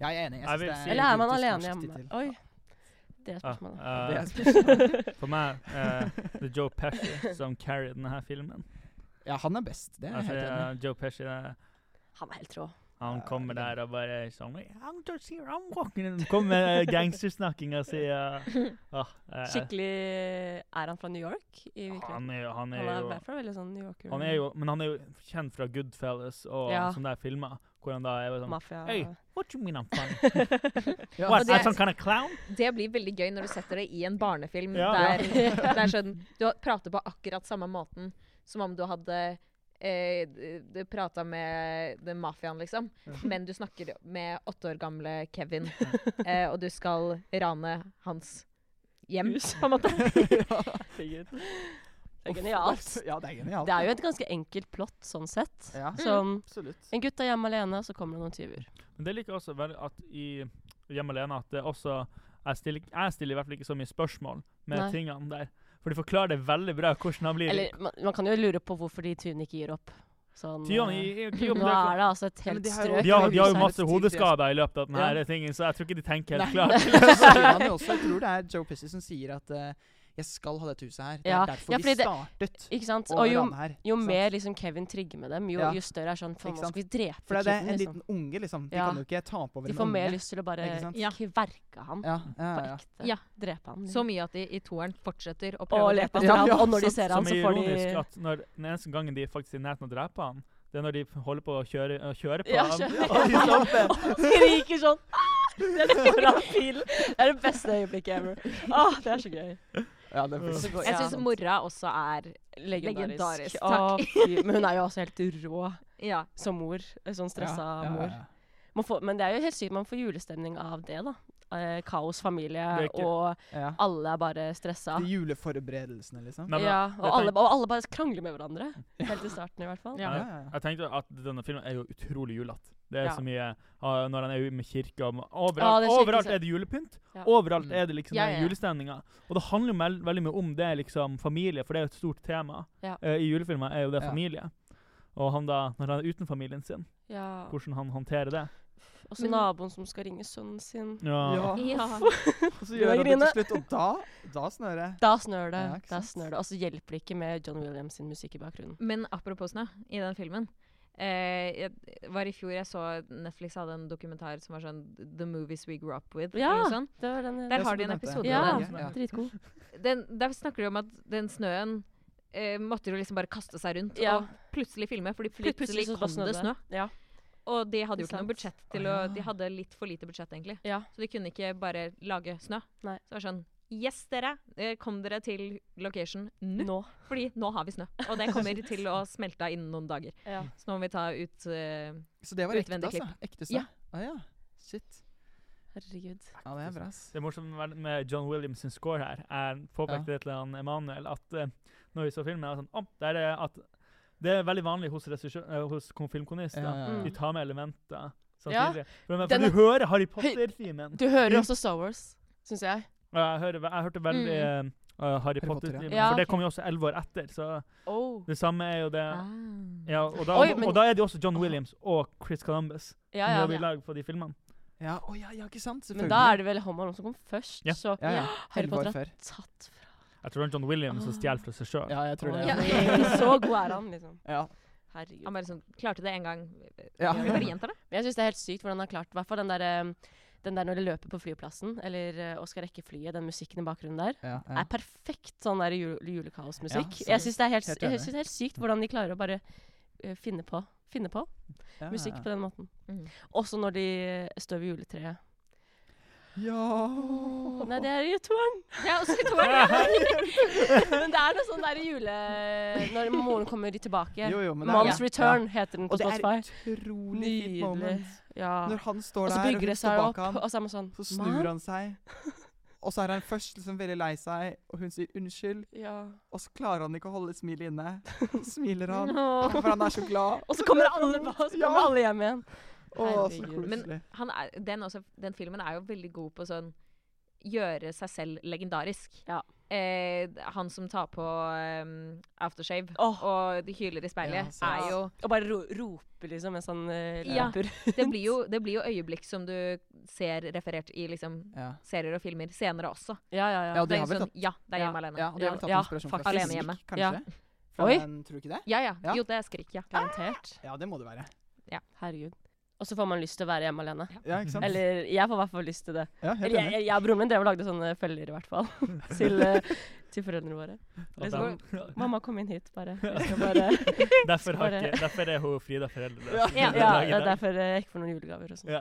S1: Ja, jeg er enig. Jeg
S2: Jeg
S1: synes
S2: vil
S1: det
S2: si-
S1: en
S3: Eller er man
S1: idiotisk
S3: alene
S1: norsk
S3: hjemme?
S1: tittel.
S3: Oi. Det er
S2: Ja,
S3: spørsmålet.
S2: eh,
S1: Det er spesielt.
S2: for meg eh, det er Joe Pesci som carrier denne filmen.
S1: Ja, han er best. Det er jeg
S2: Altså,
S1: helt enig.
S2: eh, Joe Pesci eh,
S3: Han er helt rå.
S2: han
S1: Ja,
S2: kommer
S1: det er-
S2: der og bare sånn I'm just here, I'm walking in. Kommer med eh, gangstersnakkinga si. eh, ah, eh,
S3: Skikkelig Er han fra New York? I virkeligheten?
S2: Han er jo, han
S3: Han
S2: er
S3: er i
S2: jo
S3: hvert fall veldig sånn New Yorker.
S2: han er jo, men han er jo kjent fra Goodfellas og
S3: Ja.
S2: sånne der filmer. Hvor han da er jo sånn
S3: mafia.
S2: Hey. What you mean I'm funny?
S1: Ja,
S2: What, Altså,
S4: det-
S2: I'm some kind of clown?
S4: Det blir veldig gøy når du setter det i en barnefilm
S2: Ja.
S4: der det er sånn, du har- prater på akkurat samme måten som om du hadde eh, d- d- prata med den mafiaen, liksom. Men du snakker med åtte år gamle Kevin, eh, og du skal rane hans hjem, på en måte.
S3: Det
S1: Uff,
S3: er genialt.
S1: Ja, det er genialt.
S3: Det er jo et ganske enkelt plott sånn sett.
S1: Ja,
S3: Sånn
S1: absolutt.
S3: en gutt er hjemme alene, så kommer det noen tyver.
S2: Men det liker jeg også veldig at i Hjemme alene at det også jeg stiller, jeg stiller i hvert fall ikke så mye spørsmål med
S3: Nei.
S2: tingene der. For de forklarer det veldig bra hvordan han blir.
S3: Eller man, man kan jo lure på hvorfor de tyvene ikke gir opp. Sånn,
S2: Tyvene
S3: eh,
S2: i- i- ikke om
S3: Nå
S2: det-
S3: er det altså et
S1: Ja, men
S3: helt
S1: de har jo-
S3: strøk.
S2: de, har,
S3: med
S2: de har jo
S3: hus her.
S2: masse hodeskader i løpet av denne
S1: Ja.
S2: her tingen, så jeg tror ikke de tenker
S1: Nei.
S2: helt klart.
S1: Så sier han jo også, jeg tror det er Joe Pesci som sier at eh, 'jeg skal ha dette huset her'. Det er
S3: Ja,
S1: derfor
S3: ja,
S1: vi
S3: fordi det-
S1: startet
S3: Ikke sant?
S1: å
S3: Og jo,
S1: rane her.
S3: jo
S1: sant?
S3: mer liksom Kevin trigger med dem, jo,
S1: Ja.
S3: jo større er sånn Faen,
S1: Ikke
S3: nå
S1: sant?
S3: skal vi drepe
S1: For det er
S3: kiden,
S1: en
S3: liksom.
S1: liten unge, liksom. De
S3: Ja.
S1: kan jo ikke ta på over
S3: De
S1: en
S3: får mer
S1: unge.
S3: lyst til å bare
S1: ikke sant?
S4: Ja.
S3: kverke han.
S1: Ja, ja,
S3: På
S1: ja.
S3: ekte.
S4: Ja.
S3: Drepe han.
S4: Så mye at de i toeren fortsetter å
S3: Og
S4: prøve å
S3: lete
S4: drepe
S3: Mm. etter
S1: Ja,
S3: han.
S1: ja,
S3: Og når de
S1: sant.
S3: ser
S2: Som
S3: han, så
S2: er
S3: får de
S2: ironisk at når, den eneste gangen de faktisk er i nærheten av å drepe han, det er når de holder på å kjøre, å kjøre på
S3: Ja,
S2: han.
S3: kjører.
S2: Og de står-
S3: Og skriker sånn «Ah!» Det er foran bilen. Det er det beste øyeblikket ever. Åh, det er så gøy.
S1: Ja, Mm. det er faktisk-
S3: Jeg
S4: Altså, Jeg
S1: ja.
S4: syns mora også er
S3: Legendarisk.
S4: Legendarisk,
S3: Åh,
S4: takk.
S3: fy. Men hun er jo også helt rå
S4: Ja.
S3: som mor. En Sånn stressa
S1: Ja, ja, ja,
S3: mor.
S1: ja.
S3: Man får, men det er jo helt sykt man får julestemning av det, da. Eh, kaos, familie,
S2: Det er ikke-
S3: og
S1: Ja.
S3: alle er bare stressa.
S1: De juleforberedelsene, liksom.
S2: Nei, men
S3: ja,
S2: jeg
S3: og, alle,
S2: tenk-
S3: og alle bare krangler med hverandre. Helt i starten, i hvert fall.
S1: Ja,
S2: Ja.
S1: ja, ja.
S2: Jeg tenkte at denne filmen er jo utrolig julete. Det er
S3: Ja.
S2: så mye ah, Når han er ute med kirka og
S3: Ja,
S2: Overalt,
S3: det er skikkelig
S2: overalt
S3: søtt.
S2: er det julepynt.
S3: Ja.
S2: Overalt
S1: Mm.
S2: er det liksom
S4: Ja,
S2: den
S4: ja, ja.
S2: julestemninga. Og det handler jo mel- veldig mye om det, liksom familie, for det er jo et stort tema.
S3: Ja.
S2: Eh, I julefilmer er jo det
S1: Ja.
S2: familie. Og han da, når han er uten familien sin,
S3: Ja.
S2: hvordan han håndterer det.
S3: Og så naboen som skal ringe sønnen sin.
S1: Ja.
S4: Ja.
S1: Og så
S3: Du
S1: gjør han
S3: må
S1: det til
S3: grine.
S1: slutt, og da, da snør det.
S3: Da snør det.
S1: Ja, ikke
S3: da
S1: sant?
S3: snør det. Og så hjelper det ikke med John Williams sin musikk i bakgrunnen.
S4: Men apropos snø, i den filmen eh, Jeg var i fjor jeg så Netflix hadde en dokumentar som var sånn The Movies We Grew Up With.
S3: Ja.
S4: eller noe sånt.
S3: Det var den
S4: Der
S1: Ja,
S4: har
S1: som
S4: de
S1: du
S4: en
S1: nevnte.
S4: episode
S3: av
S1: Ja, ja.
S3: Dritgod.
S4: Den, der snakker de om at den snøen eh, måtte jo liksom bare kaste seg rundt
S3: Ja.
S4: og plutselig filme, fordi
S3: Fordi
S4: plutselig, kom det snø.
S3: Ja.
S4: Og de
S3: Ikke
S4: hadde jo ikke
S3: sant?
S4: noe budsjett til å
S1: Å, ja.
S4: De hadde litt for lite budsjett, egentlig.
S3: Ja.
S4: Så de kunne ikke bare lage snø.
S3: Nei.
S4: Så det var sånn Yes, dere! Eh, Kom dere til location nå.
S3: Nå.
S4: Fordi nå har vi snø. Og det kommer til å smelte av innen noen dager.
S3: Ja.
S4: Så nå må vi ta ut eh,
S1: Så det var ekte,
S4: Utvendig
S1: altså? Ekte snø?
S4: Ja.
S1: Å ja. Shit.
S3: Herregud.
S1: Ja, det er bra, ass.
S2: Det morsomme med- med John Williams sin score her, jeg påpekte det til han Emanuel, at eh, når vi så filmen, er det sånn, «Å, der er at det er veldig vanlig hos, regissør- eh, hos kon- filmkonister.
S1: Ja, ja, ja.
S2: De tar med elementer
S3: Mm. Ja.
S2: samtidig. For, men, for
S3: Den
S2: du
S3: er-
S2: hører Harry Potter-timen.
S3: Du hører også Star Wars, syns jeg.
S2: Og jeg, hører, jeg hørte veldig eh, eh, Harry
S1: Potter, ja.
S2: Potter-timen,
S3: Mm. Ja,
S2: for det
S3: ok.
S2: kom jo også elleve år etter. Så
S3: Oh.
S2: det samme er jo det.
S4: ah.
S2: Ja, og, da,
S3: Oi,
S2: og,
S3: men-
S2: og da er det også John Williams og Chris Columbus
S3: Ja,
S2: som
S3: ja.
S2: jobber i lag på de filmene.
S1: Ja, å ja, ja, ikke sant?
S3: Men
S1: Selvfølgelig.
S3: da er det vel Home Alone som kom først,
S2: Ja.
S3: så
S1: ja, ja.
S3: Harry
S1: Elleve år
S3: Potter er
S1: før.
S3: tatt fra
S2: Jeg tror det er John Williams som stjeler fra seg sjøl.
S1: Ja, jeg tror det.
S4: Ja.
S1: Ja.
S3: Så god er han, liksom.
S1: Ja.
S3: Herregud.
S4: Han bare sånn Klarte det én gang.
S1: Ja.
S4: Vi bare gjentar det.
S3: Men jeg syns det er helt sykt hvordan han har klart I hvert fall den der, eh, den der når de løper på flyplassen, eller eh, og skal rekke flyet, den musikken i bakgrunnen der.
S1: Ja,
S3: er perfekt sånn der jul julekaosmusikk.
S1: Ja,
S3: jeg syns det er helt,
S1: helt
S3: jeg
S1: enig.
S3: synes det er helt sykt hvordan de klarer å bare eh, finne på, finne på
S1: ja,
S3: musikk på den måten.
S4: Mm.
S3: Også når de eh, står ved juletreet.
S1: Ja
S3: Nei, det er i toeren!
S4: Ja, og så
S3: Men det er noe sånn der jule... Når moren kommer tilbake.
S1: Jo, jo, men det er-
S3: Mom's
S1: ja.
S3: Return heter den
S1: Og
S3: på
S1: det er
S3: Spotify.
S1: utrolig fint
S3: Nydelig.
S1: moment.
S3: Ja.
S1: Når han står
S3: Og så
S1: der, og
S3: bygger
S1: hun
S3: det
S1: står
S3: seg
S1: bak
S3: opp,
S1: han,
S3: og så er man sånn
S1: så snur han seg. Og så er han først liksom veldig lei seg, og hun sier unnskyld.
S3: Ja.
S1: Og så klarer han ikke å holde smilet inne. Så smiler han,
S4: Åh.
S1: for han er så glad.
S3: Og så kommer alle, og så kommer
S1: Ja.
S3: alle hjem igjen.
S1: Å, så
S3: Herregud.
S1: koselig.
S4: Men- Han er, den, også, den filmen er jo veldig god på sånn Gjøre seg selv legendarisk.
S3: Ja.
S4: Eh, han som tar på um, aftershave
S3: Åh.
S4: og de hyler i
S1: Ja,
S4: speilet,
S1: sant.
S4: er jo
S3: Og bare ro rope, liksom, mens han eh,
S4: Ja.
S3: løper.
S4: det, blir jo det blir jo øyeblikk som du ser referert i liksom,
S1: ja.
S4: serier og filmer senere også.
S3: Ja, ja, ja.
S1: Ja, og
S4: Det
S1: de
S4: er
S1: har
S4: jo
S1: vel
S4: sånn,
S1: tatt,
S4: ja, det er
S3: Ja.
S4: hjemme alene.
S1: ja, og de har vel tatt
S3: Ja,
S1: inspirasjon fra
S3: faktisk.
S1: Skrik,
S4: Alene hjemme.
S1: kanskje? Fra
S3: Oi.
S1: den, tror du ikke det?
S4: Ja, ja.
S1: Ja.
S4: Jo, det er skrik, ja.
S3: Garantert.
S1: Ja, det må det være.
S3: Herregud. Og så får man lyst til å være hjemme alene.
S1: Ja, ikke sant?
S3: Eller jeg får i hvert fall lyst til det.
S1: ja,
S3: Eller
S1: helt
S3: jeg,
S1: enig.
S3: jeg, jeg og broren min drev og lagde sånne feller, i hvert fall. til, eh, til foreldrene våre.
S2: Og
S3: Liksom,
S2: dem-
S3: Mamma, kom inn hit, bare. Jeg skal bare
S2: derfor, har
S3: bare-
S2: ikke, derfor er hun og Frida foreldreløse.
S1: Ja.
S3: ja,
S2: Den
S3: ja,
S2: dag i
S3: det er
S2: dag.
S3: derfor eh, jeg ikke får noen julegaver og sånn.
S2: Ja.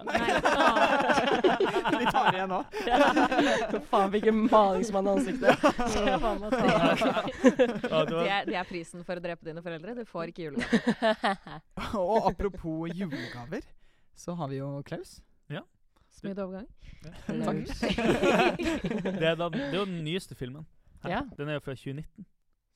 S1: De tar igjen nå.
S3: Ja. Faen, hvilken malingsmann i ansiktet. Skal jeg faen meg ta
S2: Ja, det var-
S4: Det er, det er prisen for å drepe dine foreldre. Du får ikke julegave.
S1: Og apropos julegaver, så har vi jo Klaus.
S4: Smooth overgang.
S1: Mm.
S2: det, er da, det er jo den nyeste filmen. her.
S3: Ja.
S2: Den er jo fra 2019,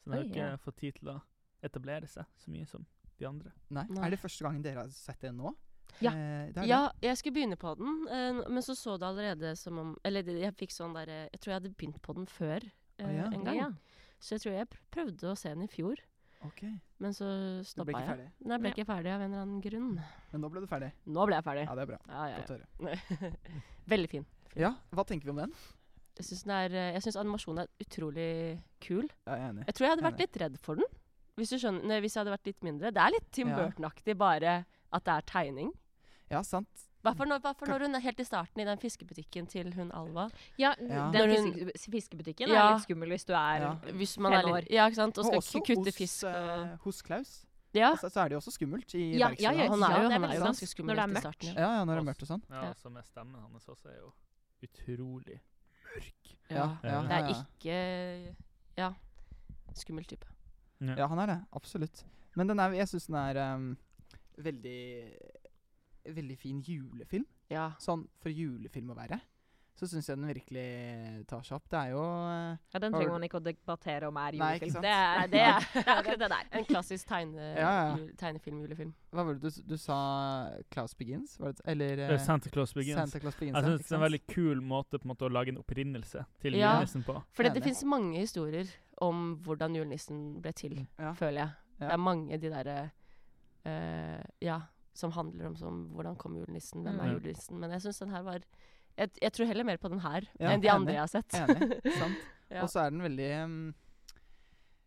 S2: så den har
S4: Oi,
S2: jo ikke
S4: ja.
S2: fått tid til å etablere seg så mye som de andre.
S1: Nei.
S3: Nei.
S1: Er det første gangen dere har sett det nå?
S4: Ja.
S1: Eh, det er
S3: Ja, jeg skulle begynne på den, eh, n- men så så det allerede som om Eller det- jeg fikk sånn derre Jeg tror jeg hadde begynt på den før eh,
S1: Å, ja.
S3: en gang. Så jeg tror jeg pr- prøvde å se den i fjor,
S1: det. Ok, du
S3: men så
S1: ble
S3: stoppa
S1: ikke
S3: jeg.
S1: ferdig.
S3: Nei, jeg ble ikke ferdig av en eller annen grunn.
S1: Men nå ble du ferdig.
S3: Nå ble jeg ferdig.
S1: Ja, det er bra.
S3: Ja, ja,
S1: Godt å høre.
S3: ja. Veldig fin.
S1: Ja, hva tenker vi om den?
S3: Jeg syns, den er, eh, jeg syns animasjonen er utrolig kul.
S1: Ja, jeg er enig.
S3: Jeg tror jeg hadde
S1: Enig.
S3: vært litt redd for den, hvis, du skjønner, nei, hvis jeg hadde vært litt mindre. Det er litt Tim
S1: Ja.
S3: Burton-aktig, bare at det er tegning.
S1: Ja, sant.
S3: Hva for når, hva for når hun er helt i starten i den fiskebutikken til hun Alva?
S4: Ja,
S1: Ja.
S4: den
S3: Når hun-
S4: fiske- fiskebutikken
S3: Ja.
S4: er litt skummel hvis du er
S1: Ja.
S3: Hvis man er
S4: Fem
S3: litt, ja, ikke sant? Og
S1: Og
S3: skal
S1: også
S3: ku- kutte
S1: hos,
S3: fisk og
S1: eh, hos Klaus.
S3: Ja,
S1: Altså, så er det jo også skummelt i
S4: Ja,
S1: verkstedet
S4: ja,
S1: hans.
S3: han er jo,
S4: det er
S3: han er jo
S4: veldig sant.
S3: ganske
S4: Når
S3: skummel
S4: det er
S3: helt i
S4: mørkt.
S3: starten. Ja.
S1: Ja, ja, når det er mørkt og sånn.
S2: Ja,
S3: Ja.
S2: så med stemmen hans også er jo utrolig mørk.
S1: Ja, ja,
S2: Det
S3: Det
S1: ja,
S3: er
S1: ja.
S3: ikke Ja. Skummel type.
S1: Ja, han er det. Absolutt. Men den er, jeg syns den er ehm, veldig Veldig fin julefilm.
S3: Ja.
S1: Sånn for julefilm å være. Så syns jeg den virkelig tar seg opp. Det er jo eh,
S4: Ja, Den trenger man ikke å debattere om er
S1: Nei, ikke
S4: julefilm.
S1: sant.
S4: Det er,
S3: Nei, det
S4: det er,
S3: er
S4: det er akkurat det der.
S3: en klassisk tegne,
S1: Ja, ja.
S3: jul- tegnefilm-julefilm.
S1: Hva var det du, du sa? Klaus Begins? Var det, eller eh,
S2: Eh, Santa Claus Begins.
S1: Santa Claus Begins.
S2: jeg
S1: ja,
S2: synes
S1: ikke
S2: det er en
S1: sant?
S2: veldig kul måte på en måte å lage en opprinnelse til
S3: Ja.
S2: julenissen på.
S3: For det,
S1: Enig.
S3: det finnes mange historier om hvordan julenissen ble til,
S1: Ja.
S3: føler jeg.
S1: Ja.
S3: Det er mange de derre eh, Ja, som handler om som, hvordan kom julenissen, hvem er
S2: Mm.
S3: julenissen? Men jeg syns den her var jeg, jeg tror heller mer på den her
S1: Ja,
S3: enn de
S1: enig.
S3: andre jeg har sett.
S1: Enig. Sant.
S3: Ja.
S1: Og så er den veldig ehm,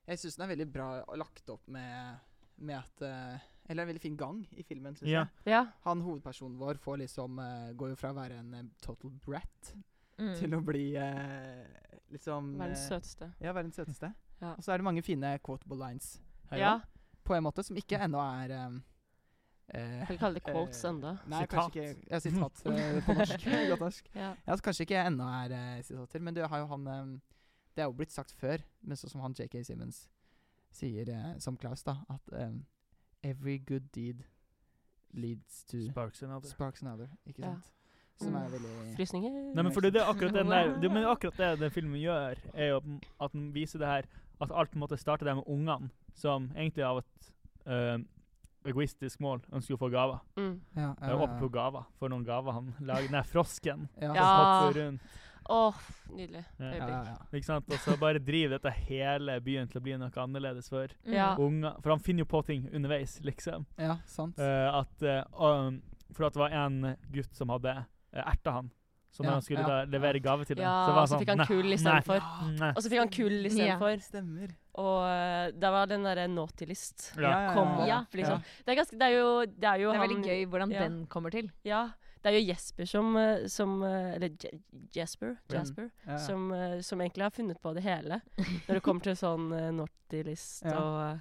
S1: Jeg syns den er veldig bra lagt opp med, med at eh, Eller en veldig fin gang i filmen, syns
S2: Ja.
S1: jeg.
S3: Ja.
S1: Han hovedpersonen vår får liksom eh, går jo fra å være en eh, total brat
S4: Mm.
S1: til å bli eh, liksom
S3: Verdens
S1: eh,
S3: søteste.
S1: Ja, verdens søteste.
S3: Ja.
S1: Og så er det mange fine quotable lines her
S3: Ja.
S1: også, på en måte, som ikke ennå er ehm, eh,
S3: Kan vi kalle det quotes
S1: eh,
S3: enda?
S1: Nei,
S2: Sitat.
S1: kanskje ikke Jeg sitat eh, på norsk. Godt norsk.
S3: Ja.
S1: Ja, så kanskje ikke ennå er eh, sitater, men det har jo han eh, Det er jo blitt sagt før, men sånn som han JK Simmons sier eh, som Klaus, da, at eh, Every good deed leads to
S2: Sparks and other.
S1: sparks another, ikke
S3: Ja.
S1: sant? Som
S3: Mm.
S1: er veldig
S3: Frysninger?
S2: Nei, men fordi det er akkurat, den der, det, men akkurat det den filmen gjør, er jo at den viser det her At alt på en måte starter der med ungene, som egentlig av et eh, egoistisk mål ønsker å få gaver.
S3: Mm.
S1: Ja, ja,
S2: Jeg
S1: ja,
S2: håper på gaver. For noen gaver han lager. Den der frosken.
S1: ja. Ja,
S2: som
S3: Ja.
S2: hopper rundt.
S3: Åh, nydelig.
S2: Ja.
S1: ja, ja,
S2: Ikke sant? Og så bare driver dette hele byen til å bli noe annerledes for
S4: mm. Ah.
S3: Ja.
S2: unger. For han finner jo på ting underveis, liksom.
S1: ja. ja sant.
S2: Eh, at, eh, um, for at det var en gutt som hadde uh, erta han. Så når
S1: Ja,
S2: han skulle
S1: ja.
S2: da levere gave til
S3: Ja,
S2: ham, så var
S3: og så
S2: han
S3: fikk han
S2: sånn
S3: kull istedenfor.
S2: nei.
S3: Og så fikk han kull istedenfor.
S1: Stemmer.
S3: Og eh, da var den derre naughty list.
S2: Ja.
S3: Kom opp,
S1: ja.
S3: liksom. Det er, ganske, det er jo, det er jo
S4: Det er
S3: han-
S4: veldig gøy hvordan
S3: ja.
S4: den kommer til.
S3: Ja. Det er jo Jesper som, eh, som eh, Eller Je Jesper,
S1: Ja.
S3: Jasper,
S1: Ja, ja.
S3: Som, eh, som egentlig har funnet på det hele. Når det kommer til sånn eh, naughty list
S1: Ja.
S3: og, eh,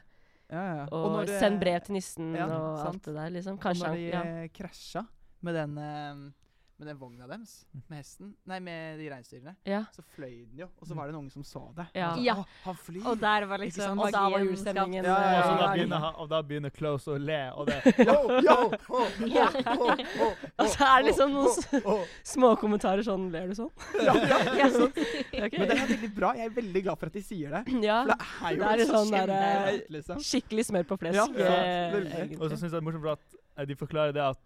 S1: Ja, ja.
S3: og,
S1: når det-
S3: send brev til nissen
S1: ja,
S3: og
S1: sant.
S3: alt det der, liksom.
S1: Og
S3: Kanskje
S1: når
S3: han
S1: de
S3: ja.
S1: eh, krasja med den, eh, med den vogna deres, med hesten Nei, med de reinsdyrene,
S3: ja.
S1: så fløy den jo. Og så var det noen som så det.
S3: Ja.
S1: Og så,
S4: Ja.
S1: «Å, Han flyr!
S4: Og der var
S1: Ikke sant?
S4: liksom
S3: Og da var
S4: magien skapt.
S3: julestemningen
S1: Ja, Sånn
S2: Og,
S1: ja,
S2: så
S3: eh,
S2: da
S1: ja.
S2: begynner, han- og da begynner Close å le, og det
S1: Yo, yo, ho, ho,
S4: Ja.
S1: ho, ho,
S3: Og så er det liksom
S1: ho,
S3: noen
S1: ho,
S3: s-
S1: ho.
S3: små kommentarer sånn Ler du sånn?
S4: Ja, sant.
S3: Ok.
S1: Men den er veldig bra. Jeg er veldig glad for at de sier det.
S3: Ja.
S1: For det er jo
S3: Det er
S1: en
S3: litt sånn
S1: kjempe-
S3: der, eh,
S1: event, liksom.
S3: Skikkelig smør på flesk.
S1: Ja, ja,
S3: eh,
S1: veldig.
S3: egentlig.
S2: Og så syns jeg det er morsomt for at eh, de forklarer det at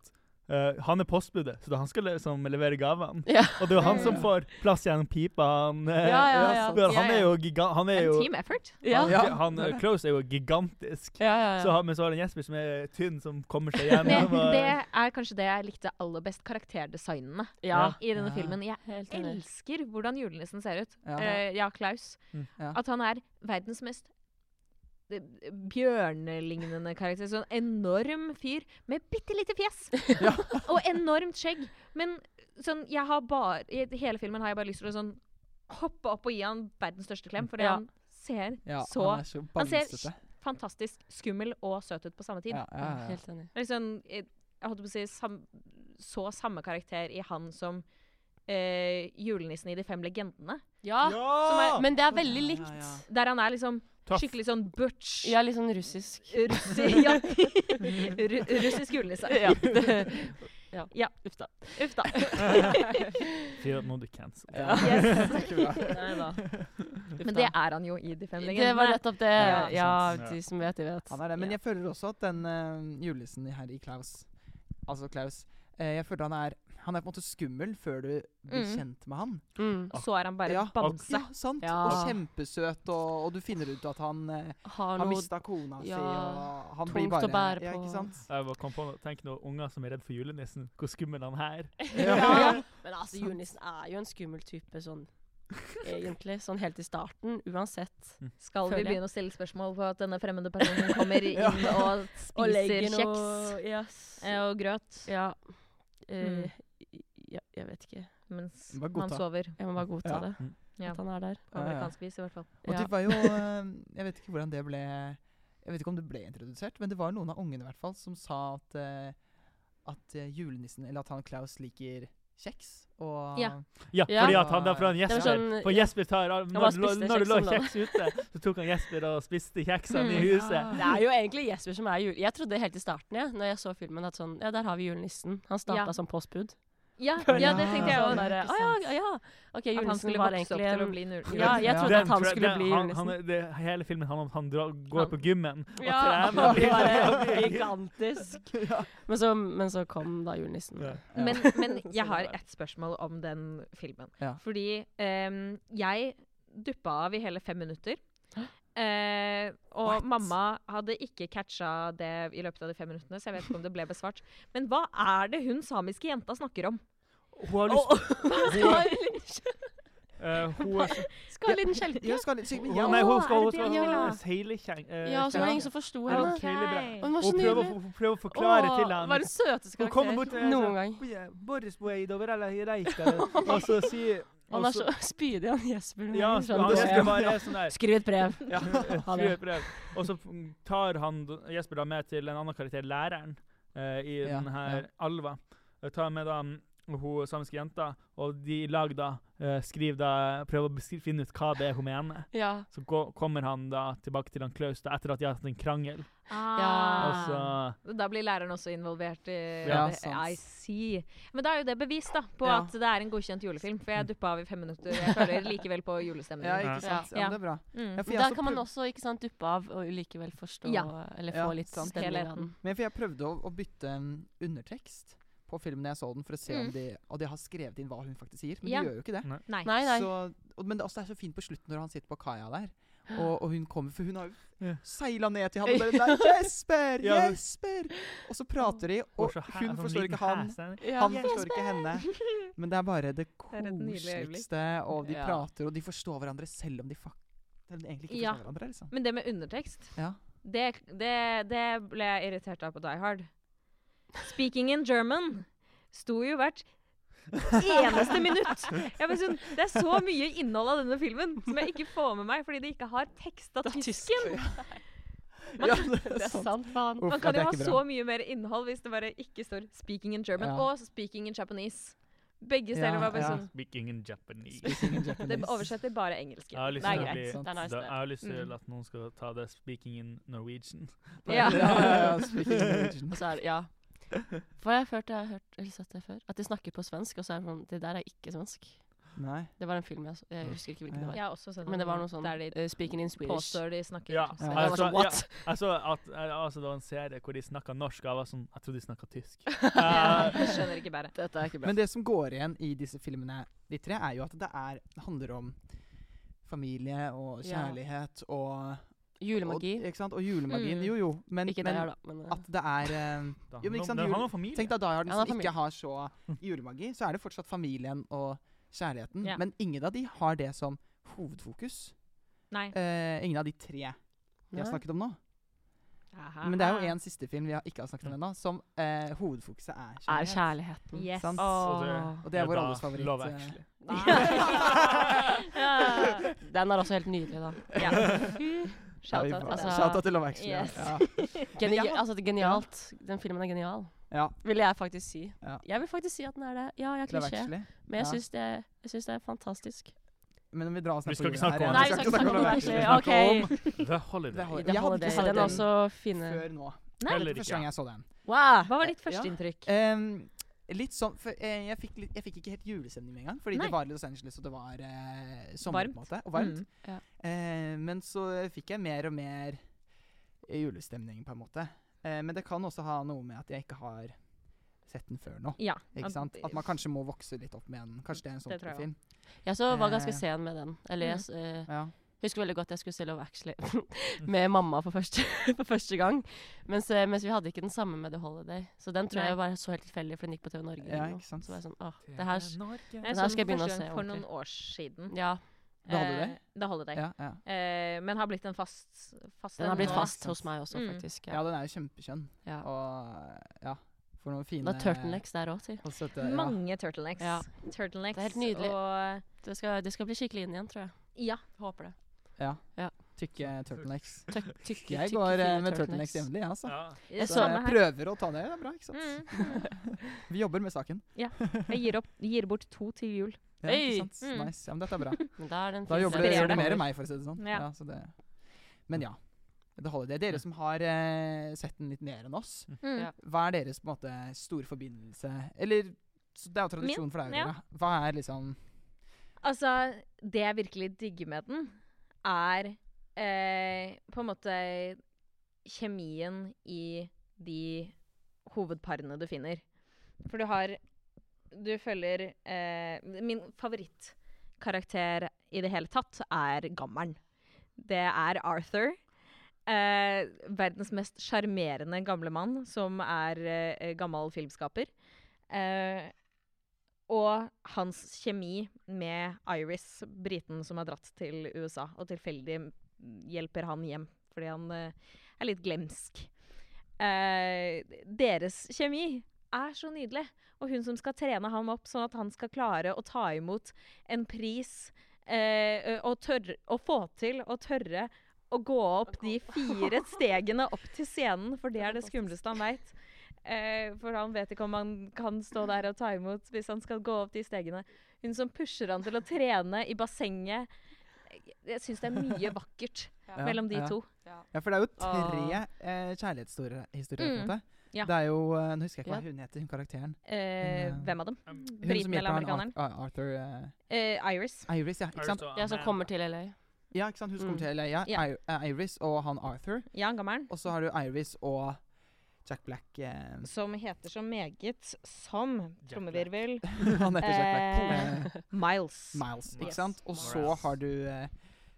S2: eh, han er postbudet, så det er han skal liksom levere gavene.
S3: Ja.
S2: Og det er jo han som
S1: Ja.
S2: får plass gjennom pipa. Han, eh,
S3: Eh. Ja, ja, ja.
S2: spør- han
S4: Ja, ja.
S2: er jo gigant... Han er
S4: En
S2: jo,
S4: team effort.
S3: Ja,
S2: han,
S1: Ja.
S2: han, eh, Klaus er jo gigantisk.
S3: ja, ja.
S2: Så, har- men så har han Jesper som er tynn, som kommer seg
S4: Det,
S2: gjennom. og-
S4: det er kanskje det jeg likte aller best, karakterdesignene
S3: ja.
S2: Ja.
S4: i denne
S1: Ja.
S4: filmen. Jeg
S3: Helt enig.
S4: elsker hvordan julenissen ser ut.
S1: Ja.
S4: Eh, ja, Klaus.
S2: Mm.
S1: Ja.
S4: At han er verdens mest eh, bjørnelignende karakter. Sånn enorm fyr med bitte lite fjes!
S1: Ja.
S4: og enormt skjegg. Men sånn, jeg har bare I hele filmen har jeg bare lyst til å sånn hoppe opp og gi han verdens største klem, fordi
S3: Ja.
S4: han ser
S1: Ja,
S4: så
S1: han er så
S4: Han ser
S1: bamsete.
S4: fantastisk skummel og søt ut på samme tid.
S1: Ja, ja, ja.
S3: Helt enig.
S4: Det er Liksom, jeg, jeg holdt på å si sam, så samme karakter i han som eh, julenissen i De fem legendene.
S3: Ja,
S2: Ja!
S3: men det er veldig
S1: Ja,
S3: likt.
S1: ja, ja.
S4: Der han er liksom
S2: Tøff.
S4: skikkelig sånn butch.
S3: Ja, litt sånn russisk.
S4: Russi, ja. Ru, russisk julenisse.
S3: Ja. det- ja.
S4: Ja.
S3: Uff da.
S4: Uff da.
S2: Sier at nå er du cancel.
S1: Ja.
S4: Yes.
S1: Ikke bra.
S4: Men det er han jo i De fem
S3: Det var
S4: legendene.
S3: nettopp
S1: Ja,
S3: det. Ja,
S2: sant.
S3: de som vet, de vet.
S1: Han er det. Men
S3: Ja.
S1: jeg føler også at den eh, julenissen her i Klaus Altså Klaus eh, Jeg føler han er Han er på en måte skummel før du blir
S4: Mm.
S1: kjent med han.
S3: Mm.
S4: Så er han bare
S1: Ja.
S4: bamse.
S1: Ja, sant.
S3: Ja.
S1: Og kjempesøt, og, og du finner ut at han eh,
S3: Har
S1: Han
S3: noe
S1: mista kona
S3: ja,
S1: si, og han
S3: tungt
S1: blir bare
S3: å bære
S1: Ja,
S3: på.
S1: ikke sant?
S2: Jeg bare kom på noe. Tenk noen unger som er redd for julenissen. Hvor skummel han her.
S3: Ja. Men altså,
S1: Sant.
S3: julenissen er jo en skummel type sånn egentlig. Sånn helt i starten, uansett.
S4: Skal vi
S3: Føler jeg.
S4: begynne å stille spørsmål på at denne fremmede personen kommer inn og spiser kjeks
S3: Yes.
S4: eh, og grøt
S3: Ja. Eh,
S4: Mm.
S3: ja. Jeg vet ikke.
S4: mens
S1: Bare godta.
S4: man sover?
S3: Jeg må bare godta
S1: Ja.
S3: det.
S2: Mm.
S4: Ja.
S3: At han er der.
S4: På
S1: Ja, ja.
S4: amerikansk vis, i hvert fall.
S1: Og
S3: Ja.
S1: det var jo eh, Jeg vet ikke hvordan det ble Jeg vet ikke om det ble introdusert, men det var noen av ungene i hvert fall som sa at eh, At eh, julenissen, eller at han Klaus liker kjeks. Og
S4: Ja.
S2: Ja,
S3: Ja.
S2: fordi at han der fra en
S3: Det
S2: Jesper.
S3: var sånn-
S2: For Jesper tar av-
S3: bare
S2: Når, det lå-
S3: spiste
S2: når det lå
S3: kjeks om
S2: kjeks ute, så tok han Jesper og spiste kjeksene i
S4: Mm.
S2: huset.
S3: Det er jo egentlig Jesper som er jul... Jeg trodde helt i starten, jeg, når jeg så filmen, at sånn Ja, der har vi julenissen. Han starta
S4: Ja.
S3: som postbud.
S4: Ja, ja, det tenkte jeg
S1: Ja.
S4: òg.
S3: Sånn derre, Å ja, ja. OK,
S4: At han
S3: julenissen
S4: skulle
S3: var
S4: vokse opp
S3: egentlig
S4: til å
S3: en
S4: bli nul.
S3: Ja, jeg
S1: Ja.
S3: trodde
S2: Den
S3: at han
S2: tror jeg-
S3: skulle
S2: den-
S3: bli
S2: han,
S3: julenissen.
S2: han, det, Hele filmen handler om at han drar, går
S3: Han-
S2: på gymmen og
S3: ja,
S2: trener.
S3: han blir bare gigantisk. Men så, men så kom da julenissen.
S2: Ja.
S1: Ja.
S4: Men, men
S3: Så
S4: jeg
S3: det
S4: har
S3: var-
S4: ett spørsmål om den filmen.
S1: Ja.
S4: Fordi ehm, jeg duppa av i hele fem minutter. Eh, og
S1: What?
S4: mamma hadde ikke catcha det i løpet av de fem minuttene, så jeg vet ikke om det ble besvart. Men hva er det hun samiske jenta snakker om?
S2: Hun har lyst eh, Hun,
S3: Skal ha en liten skjelke.
S1: Ja, skal, så, men
S2: hun,
S1: ja,
S2: nei, hun
S4: Å,
S2: skal
S4: er det det
S2: hun
S4: hun vil ha?
S2: skal seilekjeng... eh,
S3: Ja, så var
S1: Ja.
S3: det ingen som forsto
S2: Ja.
S3: henne.
S2: Ok.
S3: Hun var så
S2: Hun prøver,
S3: nydelig.
S2: å- hun prøver å forklare
S3: sånn Åh,
S2: til ham.
S3: Var den søteste
S2: Hun kommer
S3: karakter
S2: bort til-
S3: noen gang.
S2: Boris Weidover eller Reikdal. Og så sier
S3: Han er så spydig, han Jesper.
S2: Ja,
S3: Han
S2: han
S3: skjønner det.
S2: Jesper bare er sånn der.
S3: Skriv et brev.
S2: Ja, skriv
S3: Ha det.
S2: et brev. Og så f- tar han d- Jesper da med til en annen karakter, læreren, eh, i
S1: Ja,
S2: den her
S1: ja.
S2: Alva. Eh, Tar med da mm, hun samiske jenta, og de i lag da eh, skriver da Prøver å beskri- finne ut hva det er hun mener.
S3: Ja.
S2: Så gå, kommer han da tilbake til han Klaus da, etter at de har hatt en krangel.
S3: Ja.
S2: Og
S4: Ah.
S2: så
S4: Da blir læreren også involvert i
S1: Ja,
S4: det.
S1: sant.
S4: I see. Men da er jo det bevis da, på
S1: Ja.
S4: at det er en godkjent julefilm. For jeg duppa av i fem minutter. Jeg føler likevel på julestemningen.
S1: ja, ikke sant. Ja,
S4: Ja.
S1: men det er bra.
S4: Mm.
S1: Ja, for jeg
S3: Da
S1: også
S3: kan man
S1: prøv-
S3: også ikke sant, duppe av og likevel forstå
S4: Ja.
S3: eller
S1: Ja,
S3: få litt sånn
S1: sant.
S3: stemning av den.
S4: Helheten.
S1: Men for jeg prøvde å, å bytte mm, undertekst på filmen jeg så den, for å se om
S4: Mm.
S1: de, og de har skrevet inn hva hun faktisk sier. Men
S4: Ja.
S1: de gjør jo ikke det.
S3: Nei,
S4: Nei.
S3: nei.
S1: Så, og, men det også er så fint på slutten når han sitter på kaia der, og, og hun kommer For hun har jo
S2: Ja.
S1: seila ned til ham og bare «Nei, 'Jesper!
S2: Ja, men-
S1: Jesper!' Og så prater de, og
S2: så her-
S1: hun
S2: sånn
S1: forstår
S2: liten
S1: ikke han.
S2: hæs der.
S3: Ja.
S1: Han forstår ikke henne. Men det er bare det
S4: er et nydelig øyeblikk.
S1: koseligste, og de
S3: Ja.
S1: prater, og de forstår hverandre selv om de fak selv om de egentlig ikke
S4: Ja.
S1: forstår hverandre. liksom.
S4: Men det med undertekst,
S1: Ja.
S4: det, det, det ble jeg irritert av på Die Hard. Speaking in German sto jo hvert eneste minutt. Jeg bare sånn, det er så mye innhold av denne filmen som jeg ikke får med meg fordi de ikke har teksta
S3: Det er
S4: tysken.
S1: ja, det er
S3: Det er
S1: sant.
S3: sant, faen.
S1: Uff, ja,
S4: Man kan
S1: det
S4: jo
S1: er
S4: ha
S1: ikke bra.
S4: så mye mer innhold hvis det bare ikke står 'speaking in German'
S1: Ja.
S4: og 'speaking in Japanese'. Begge
S1: Ja,
S4: steder var bare
S1: ja.
S4: sånn
S2: Speaking in Japanese.
S1: Speaking in
S4: Det
S1: Japanese.
S4: oversetter bare engelsk.
S2: Jeg har
S4: Det
S2: lyst
S4: er
S2: til å
S4: greit.
S2: bli
S1: sant.
S3: Det er nice,
S2: da,
S3: det.
S2: Jeg har lyst
S4: Mm.
S2: til at noen skal ta det 'speaking in Norwegian'.
S1: ja,
S4: Ja.
S1: ja, ja, speaking in Norwegian.
S3: Og så er det, ja. For jeg har hørt, jeg har hørt eller sett det før, at de snakker på svensk, og så er det sånn Det der er ikke svensk.
S1: Nei.
S3: Det var en film jeg så. Jeg husker ikke hvilken det var.
S4: Jeg har også sett
S3: Men det var noe sånn
S4: der de
S3: eh, Speaking in Swedish.
S4: påstår de snakker
S2: Ja.
S4: norsk.
S1: Ja.
S3: Jeg var
S2: Altså,
S3: sånn, what?
S2: Jeg så at eh, altså, det var en serie hvor de snakka norsk, og jeg var sånn Jeg trodde de snakka tysk. Eh,
S4: Jeg skjønner ikke bæret.
S3: Dette er ikke bra.
S1: Men det som går igjen i disse filmene, de tre, er jo at det er, det handler om familie og
S3: Ja.
S1: kjærlighet og
S3: Julemagi.
S1: Og, ikke sant? og julemagien.
S4: Mm.
S1: Jo, jo. Men,
S3: Ikke det
S1: men
S3: her, da. Men, eh,
S1: at det er eh,
S2: det
S1: Jo, men ikke sant,
S2: handler
S1: jul-
S2: om- det handler om familie.
S1: Tenk deg Die Hard
S3: Ja, det er
S1: som
S3: familie.
S1: ikke har så julemagi. Så er det fortsatt familien og kjærligheten.
S4: Ja.
S1: Men ingen av de har det som hovedfokus.
S4: Nei.
S1: Eh, ingen av de tre vi har
S3: nei.
S1: snakket om nå.
S4: Aha.
S1: Men det er jo en siste film vi har, ikke har snakket om ennå, som eh, hovedfokuset er kjærlighet.
S3: Mm. er kjærligheten.
S4: Yes.
S1: Sant?
S2: Og det-
S3: Åh.
S1: Og det er vår
S2: da
S1: alles favoritt.
S2: Love
S1: eh,
S2: Actually.
S4: Ja.
S3: Den er også helt nydelig, da.
S1: eh,
S4: Ja.
S1: ja, vi-
S4: Shout-out til
S1: altså,
S4: det.
S1: Shout out til Love Actually. ja.
S4: Yes.
S1: Ja. Men
S3: Geni
S1: jeg har-
S3: altså, det er genialt. Den filmen er genial.
S1: Ja,
S3: Vil jeg faktisk si.
S1: Ja.
S3: Jeg vil faktisk si at den er det. Ja, jeg er
S1: Love
S3: klisjé,
S1: Actually.
S3: men jeg
S1: Ja.
S3: syns det, jeg synes det er fantastisk.
S1: Men vi drar oss
S2: Vi
S1: ned på
S2: skal ikke
S1: jorda
S2: snakke om
S1: her,
S2: det.
S1: ja.
S3: Nei, vi skal ikke snakke om
S1: Love
S3: det,
S1: Actually.
S3: actually.
S1: Vi
S3: OK.
S1: snakker om-
S2: The Holiday.
S1: Det har-
S3: The
S1: Jeg hadde
S3: Holiday.
S1: ikke
S3: Den
S1: sett
S3: er
S1: den
S3: også fine.
S1: før nå.
S4: Nei,
S1: Det
S2: Heller
S1: er første
S2: ikke.
S1: gang jeg så den.
S3: Wow!
S4: Hva var ditt
S1: Ja.
S4: førsteinntrykk?
S1: Ehm, litt sånn for, eh, jeg, fikk litt, jeg fikk ikke helt julestemning med en gang, fordi
S4: Nei.
S1: det var Los Angeles og det var eh, sommer.
S4: Varmt.
S1: på en måte, Og varmt.
S4: Mm.
S3: Ja.
S1: Eh, men så fikk jeg mer og mer eh, julestemning, på en måte. Eh, men det kan også ha noe med at jeg ikke har sett den før nå.
S4: Ja.
S1: Ikke sant? At man kanskje må vokse litt opp med den. Kanskje det er en sånn
S4: Det
S1: type
S4: tror jeg
S1: film.
S3: Jeg så var ganske
S1: Eh.
S3: sen med den. Eller
S1: Mm.
S3: jeg s- eh,
S1: Ja.
S3: husker veldig godt jeg skulle se Love Actually med mamma for første, for første gang. Mens, eh, mens vi hadde ikke den samme med The Holiday. Så den tror
S4: Nei.
S3: jeg bare så helt tilfeldig, for den gikk på TV Norge.
S1: Ja,
S3: eller noe.
S1: ikke sant.
S3: Så var jeg sånn, åh, det her s-
S2: Norge.
S4: Jeg
S3: Den her
S4: så
S3: skal jeg
S4: den
S3: begynne å
S4: første
S3: se
S4: gang for
S3: ordentlig.
S4: noen år siden.
S3: Ja,
S1: Det hadde det?
S4: Eh, det holder deg.
S1: Ja, ja.
S4: Eh, men har blitt en fast, fast
S3: den har blitt
S4: nå.
S3: fast hos meg også,
S4: Mm.
S3: faktisk.
S1: ja, den er jo kjempekjønn.
S3: Ja.
S1: Og eh, ja, for noen fine
S3: Det er turtlenecks der òg, si.
S1: og søte- ja.
S4: Mange turtlenecks.
S3: Ja.
S4: Turtlenecks
S3: Det er helt nydelig.
S4: Og
S3: Det skal, det skal bli skikkelig inn igjen, tror jeg.
S4: ja.
S3: Håper det.
S1: Ja.
S3: Ja.
S1: Tykke turtlenecks.
S3: Tøk, tykke,
S1: Jeg
S3: tykke,
S1: går eh,
S3: fine
S1: med turtlenecks jevnlig, jeg, altså.
S2: Ja.
S3: Jeg
S1: Så
S3: så-
S1: jeg prøver å ta det. Det er bra, ikke sant?
S4: Mm.
S1: Vi jobber med saken.
S4: Jeg gir, opp, gir bort to til jul.
S1: Ja,
S3: Hey!
S1: ikke sant?
S4: Mm.
S1: Nice. Ja, men dette er bra.
S3: Men da er den
S1: Da
S3: fin
S1: jobber
S4: det
S1: du,
S4: er
S1: gjør du
S3: serien
S4: det.
S1: mer
S3: kommer.
S1: enn meg, for å si det sånn.
S4: Ja.
S1: Ja, så det. Men ja. Det holder det. Dere som har eh, sett den litt mer enn oss,
S4: Mm.
S3: Ja.
S1: hva er deres på en måte store forbindelse Eller så det er jo tradisjon for deg,
S4: Min? Ja.
S1: Aurora. Hva er liksom
S4: Altså, det jeg virkelig digger med den, er eh, på en måte kjemien i de hovedparene du finner. For du har Du følger eh, Min favorittkarakter i det hele tatt er gammelen. Det er Arthur. Eh, verdens mest sjarmerende gamle mann, som er eh, gammel filmskaper. Eh, og hans kjemi med Iris, briten som har dratt til USA, og tilfeldig hjelper han hjem fordi han eh, er litt glemsk. Eh, deres kjemi er så nydelig. Og hun som skal trene ham opp sånn at han skal klare å ta imot en pris eh, og tørre, å få til å tørre å gå opp de fire stegene opp til scenen, for det er det skumleste han veit. Eh, for han vet ikke om han kan stå der og ta imot hvis han skal gå opp de stegene. Hun som pusher han til å trene i bassenget. Jeg- Jeg syns det er mye vakkert
S3: Ja.
S4: mellom de
S1: ja.
S4: to.
S1: Ja, for det er jo tre
S4: Åh.
S1: eh, kjærlighetshistorier, historier, på en
S4: Mm.
S1: måte.
S4: Ja.
S1: Det er jo eh, Nå husker jeg ikke hva
S3: Ja.
S1: hun heter, hun karakteren.
S4: Eh,
S1: Hun, eh,
S4: hvem av dem?
S2: Um,
S1: Hun
S4: Briten eller
S1: han
S4: amerikaneren?
S1: Ar Ar- Arthur eh,
S4: Eh, Iris.
S1: Iris, ja. Ikke sant?
S2: Iris og
S3: Jeg som
S2: Amanda.
S3: kommer til LA.
S1: Ja, ikke sant? Hun som kommer
S3: Mm.
S1: til LA. Ja.
S4: Ja.
S1: Ir- eh, Iris og han Arthur.
S4: Ja, gammelen.
S1: Og så har du Iris og Jack Black. Eh,
S4: Som heter så meget som
S2: Jack
S4: trommevirvel
S1: han heter Jack Black.
S4: Eh,
S1: Eh,
S4: Miles.
S1: Miles, ikke
S4: Yes.
S1: sant? Og
S2: Miles.
S1: så har du eh,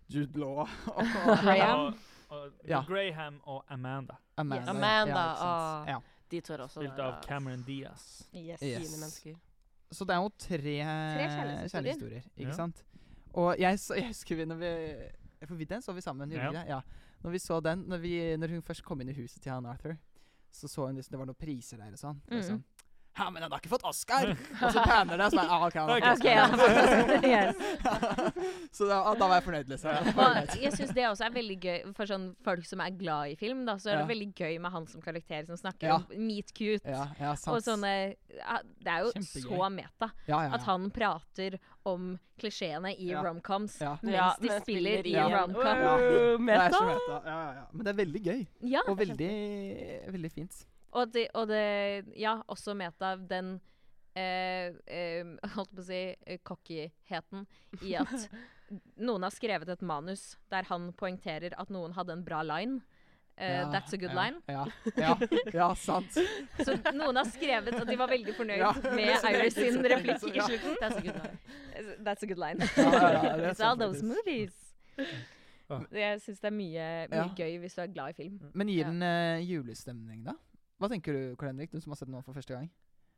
S1: Jude Law
S2: Og-
S1: og
S4: Graham.
S2: og-
S1: Ja.
S2: Graham og Amanda,
S1: Amanda.
S4: Yes.
S3: Amanda,
S1: ja, ikke sant?
S3: ah.
S1: ja.
S3: De to er også
S2: spilt
S3: der,
S2: av
S3: da.
S2: Cameron Diaz.
S4: Yes.
S1: Yes.
S3: Fine mennesker.
S1: Så det er jo tre,
S4: kjærlighetshistorier.
S1: kjærlighetshistorier, ikke
S2: Ja.
S1: sant? Og jeg, så, jeg husker vi når vi For vi den så vi sammen, gjorde vi
S2: Ja.
S1: det? Ja. Når vi så den, når, vi, når hun først kom inn i huset til han Arthur, så så hun liksom det var noen priser der og sånn. Og
S4: Mm.
S1: sånn ja, men han har ikke fått Oscar! og så panner det, og så er ah, ok, han har ikke
S4: Ok, ja. yes.
S1: Oscar. Så da, da var jeg fornøyd, liksom. Jeg var fornøyd.
S4: Og jeg syns det også er veldig gøy for sånn folk som er glad i film. Da, så er
S1: Ja.
S4: det veldig gøy med han som karakter som snakker
S1: Ja.
S4: om meet cute.
S1: Ja, ja, sant.
S4: Og sånne, ja, det er jo
S1: Kjempegøy.
S4: så meta
S1: ja, ja,
S4: at
S1: ja.
S4: han prater om klisjeene i
S1: Ja. romcoms,
S4: romcoms
S1: Ja.
S4: mens
S3: Ja,
S4: de
S3: men
S4: spiller i
S3: en-
S4: romcom.
S1: Ja.
S3: Øh,
S1: Det er
S3: Meta!
S1: så meta. Ja, ja, ja. Men det er veldig gøy.
S4: Ja,
S1: Og veldig, veldig fint.
S4: og, det, og det Ja, også meta den eh, eh, eh, holdt på å si, eh, cockyheten i at noen har skrevet et manus der han poengterer at noen hadde en bra line. Eh,
S1: Ja,
S4: that's a good
S1: ja,
S4: line.
S1: Ja, ja, ja sant.
S4: Så noen har skrevet at de var veldig fornøyd
S1: Ja,
S4: med
S1: så det er ikke
S4: Iris sin
S1: så-
S4: replikk i
S1: ja.
S4: slutten.
S3: Det er så good line.
S4: That's a good line.
S1: Ja, ja, ja, det er
S4: It's all
S1: sant
S4: those
S1: faktisk.
S4: movies.
S2: Ja.
S4: Jeg syns det er mye, mye
S1: Ja.
S4: gøy hvis du er glad i film.
S1: Men gir
S4: Ja.
S1: den eh, julestemning, da? Hva tenker du, Karl Henrik, du som har sett den nå for første gang?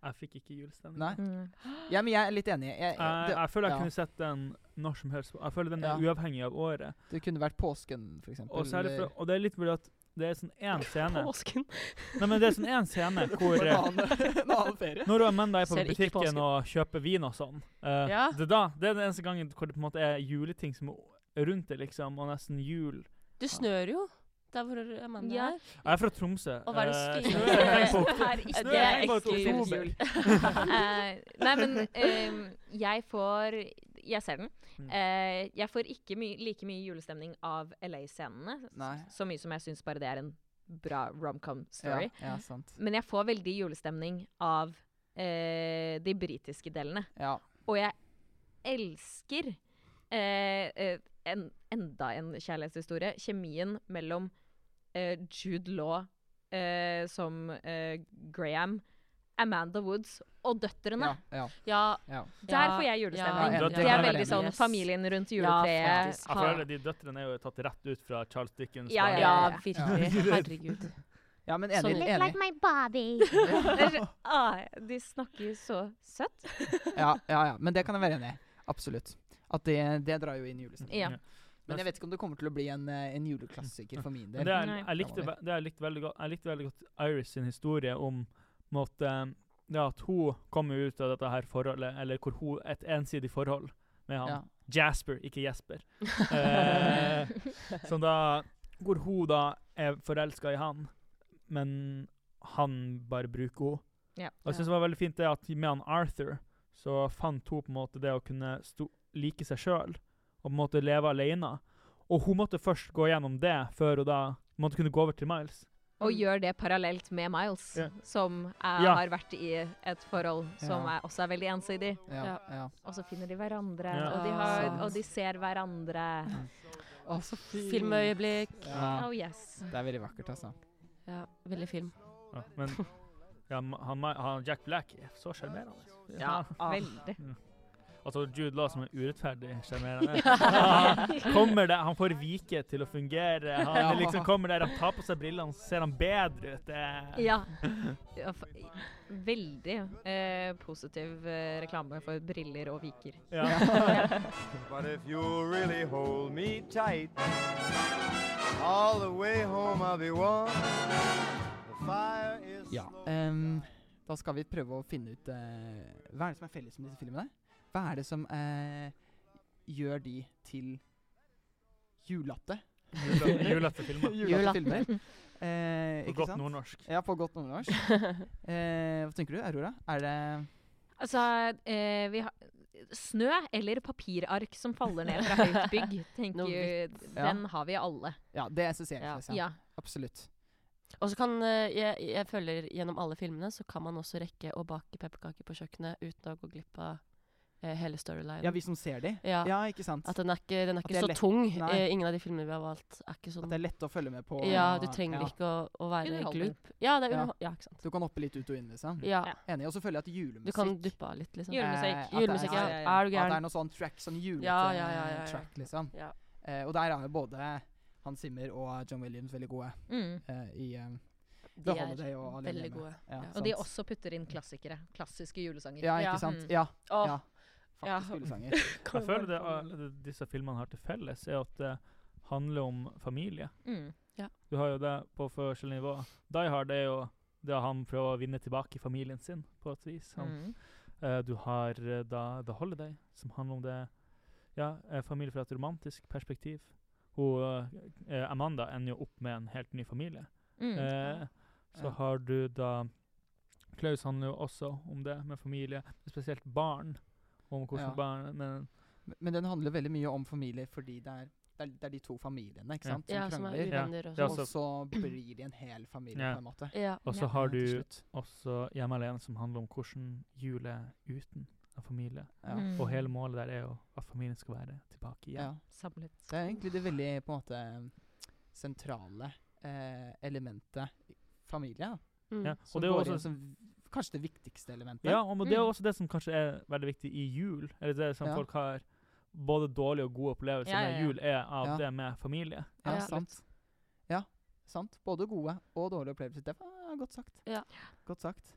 S2: Jeg fikk ikke julestemning.
S1: Nei? Ja, men jeg er litt enig. Jeg,
S2: Jeg, jeg føler jeg
S1: ja.
S2: kunne sett den når som helst. Jeg føler den er uavhengig av året.
S1: det, det kunne vært påsken, for eksempel. eh,
S2: Og, særlig for, og det er litt fordi at det er sånn én scene
S3: Påsken.
S2: Nei, men det er sånn én scene hvor
S1: en
S2: eh,
S1: annen, en annen ferie.
S2: Når Amanda er på
S3: Ser ikke
S2: butikken
S3: påsken.
S2: og kjøper vin og sånn eh,
S3: Ja.
S2: det, er da, det er den eneste gangen hvor det på en måte er juleting som er rundt det, liksom, og nesten jul.
S3: Det snør jo der hvor Amanda
S4: Ja.
S3: er.
S2: Jeg er fra Tromsø.
S3: Og hva er det
S2: eh,
S3: som-
S2: snø er på
S4: Det er ikke-
S2: Snø
S3: Det er
S2: er på
S3: eksklusivt
S2: oktober.
S3: jul.
S4: Eh, nei, men ehm, jeg får Jeg ser den.
S2: Mm.
S4: Eh, jeg får ikke my like mye julestemning av LA-scenene, s-
S1: Nei.
S4: så mye som jeg syns bare det er en bra
S1: Ja,
S4: romcom-story.
S1: ja, sant.
S4: Men jeg får veldig julestemning av eh, de britiske delene.
S1: Ja.
S4: Og jeg elsker eh, eh, en, enda en kjærlighetshistorie. Kjemien mellom eh, Jude Law eh, som eh, Graham, Amanda Woods og døtrene.
S1: Ja, ja,
S3: Ja.
S1: ja.
S4: Der
S3: Ja,
S4: får jeg
S2: ja,
S4: julestemning.
S2: ja.
S4: det er veldig
S1: Døtrene er
S4: sånn
S3: enig.
S4: familien rundt
S3: Ja,
S4: juletreet.
S3: faktisk.
S2: Jeg føler de døtrene er jo tatt rett ut fra Charles Dickens.
S4: Ja,
S2: barn.
S3: Ja,
S4: ja.
S3: virkelig. Herregud.
S1: ja men
S3: Sånn
S1: enig.
S3: litt
S1: enig.
S5: my body.
S4: Det er så- ah, de snakker så søtt.
S1: Ja, ja, ja. Men det kan jeg være enig i. Absolutt. At det, det drar jo inn julestemning.
S4: Ja.
S1: Men jeg vet ikke om det kommer til å bli en, eh, en juleklassiker for min
S2: Men
S1: del.
S2: det er,
S4: Nei.
S2: jeg, likte, ve- det jeg, likte veldig godt, jeg likte veldig godt Iris sin historie om på en måte, ja, at hun kommer ut av dette her forholdet, eller hvor hun, et ensidig forhold med han.
S1: Ja.
S2: Jasper, ikke Jesper. Eh, som da, hvor hun da er forelska i han, men han bare bruker henne.
S4: Ja.
S2: Og jeg synes det var veldig fint det at med han Arthur så fant hun på en måte det å kunne sto like seg sjøl og på en måte leve alene. Og hun måtte først gå gjennom det før hun da måtte kunne gå over til Miles.
S1: Mm.
S4: Og gjør det parallelt med Miles,
S2: Ja.
S4: som eh,
S2: Ja.
S4: har vært i et forhold som
S1: Ja.
S4: er, også er veldig ensidig.
S1: Ja, ja.
S4: Og så finner de hverandre,
S2: Ja.
S4: og, de har,
S1: Sant.
S4: og de ser hverandre.
S1: Å, så fint.
S3: Filmøyeblikk.
S1: Ja.
S4: Oh yes.
S1: Det er veldig vakkert, altså.
S3: Ja, veldig film.
S2: Ja, men ja, han, han Jack Black er så sjarmerende.
S4: Ja,
S1: Ah.
S4: veldig.
S2: Altså Jude Law som er urettferdig sjarmerende. kommer det Han får vike til å fungere. Han liksom kommer der, han tar på seg brillene, så ser han bedre ut. Det.
S4: Ja. Ja, fa- Veldig eh, positiv eh, reklame for briller og viker.
S2: Ja.
S6: But if you'll really hold me tight, all the way home I'll be warm. The fire is
S1: Ja.
S6: slow.
S1: ehm, da skal vi prøve å finne ut eh, Hva er det som er felles med disse filmene? Hva er det som eh, gjør de til julete?
S2: Julete- Julete filmer.
S1: Julete filmer. Eh,
S2: På
S1: ikke
S2: godt
S1: sant?
S2: nordnorsk.
S1: Ja, på godt nordnorsk. Eh, hva tenker du, Aurora? Er det
S4: Altså, eh, vi har Snø eller papirark som faller ned fra høyt bygg, tenker
S3: Noe
S4: jo, den har vi alle.
S1: Ja, det assosierer
S3: Ja.
S1: jeg seg. Ja.
S4: Ja.
S1: Absolutt.
S3: Og så kan eh, jeg, jeg føler gjennom alle filmene så kan man også rekke å bake pepperkaker på kjøkkenet uten å gå glipp av eh, hele storylinen.
S1: Ja, vi som ser de.
S3: Ja.
S1: Ja, ikke sant?
S3: At den er ikke, den
S1: det
S3: er ikke
S1: er
S3: så
S1: lett.
S3: tung.
S1: Nei.
S3: Eh, Ingen av de filmene vi har valgt, er ikke
S1: At
S3: sånn
S1: det er lett å følge med på.
S3: Ja, du trenger
S1: ja.
S3: ikke å, å være
S4: Underholdning.
S3: glup. Ja, det er
S1: Ja.
S3: underhold... Ja, ikke sant.
S1: Du kan hoppe litt ut og inn, liksom.
S3: Ja.
S4: Ja.
S1: Enig. Og så føler jeg at
S3: Du
S1: julemusikk
S3: kan duppe av litt, liksom.
S1: Eh, at
S4: Julemusikk.
S1: det er-
S3: Julemusikk, ja.
S4: ja, ja, ja.
S3: Er
S1: At
S3: du
S1: det er
S3: gæren?
S1: noe sånn track, sånn julete
S3: Ja, ja, ja, ja, ja.
S1: track, liksom.
S3: Ja.
S1: Eh, og der er jo både Hans Zimmer og John Williams veldig gode
S4: Mm.
S1: eh, i eh, The
S3: De er
S1: Holiday og Alene
S3: veldig
S1: hjemme.
S3: gode.
S1: Ja,
S3: Ja.
S1: sant.
S4: Og de også putter inn klassikere. Klassiske julesanger.
S1: Ja,
S3: Ja.
S1: ikke sant?
S4: Mm.
S1: Ja.
S3: Åh,
S1: ja. Faktisk
S3: Ja.
S1: julesanger.
S2: Jeg føler det eh, alle de- disse filmene har til felles, er at det handler om familie.
S4: Mm.
S2: Du har jo det på forskjellige nivå. Die Hard er jo det han prøver å vinne tilbake familien sin, på et vis. Han
S4: Mm.
S2: Eh, du har eh, da The Holiday, som handler om det Ja, eh, familie fra et romantisk perspektiv. Hun, eh, Amanda ender jo opp med en helt ny familie.
S4: Mm.
S2: Eh, så
S1: Ja.
S2: har du da Klaus handler jo også om det med familie, spesielt barn. Om hvordan
S1: Ja.
S2: barn men,
S1: Men den handler veldig mye om familie fordi det er, det, er, det er de to familiene ikke
S2: Ja.
S1: sant, som
S3: Ja, som er
S1: krangler.
S3: uvenner
S2: Ja,
S3: og
S1: Og
S2: så-
S3: sånn.
S1: så blir de en hel familie,
S2: Ja.
S1: på en måte.
S3: Ja.
S2: Og så
S4: Ja.
S2: har
S1: Ja, til
S2: du
S1: slutt.
S2: også Hjemme alene, som handler om hvordan jul er uten en familie.
S1: Ja.
S4: Mm.
S2: Og hele målet der er jo at familien skal være tilbake igjen.
S1: ja.
S4: Samlet.
S1: Det er egentlig det veldig på en måte sentrale eh, elementet i familie. da,
S3: Mm.
S2: Ja,
S1: Som
S2: Og det er jo
S1: går inn
S2: også,
S1: som v- kanskje det viktigste elementet.
S2: ja, og det er
S4: Mm.
S2: også det som kanskje er veldig viktig i jul. Eller det som
S1: Ja.
S2: folk har både dårlige og gode opplevelser
S4: Ja, ja,
S2: med
S4: ja.
S2: jul, er av
S1: Ja.
S2: det med familie.
S1: Ja,
S3: absolutt.
S1: sant. Ja, sant. Både gode og dårlige opplevelser. Det var godt sagt.
S3: Ja.
S1: Godt sagt.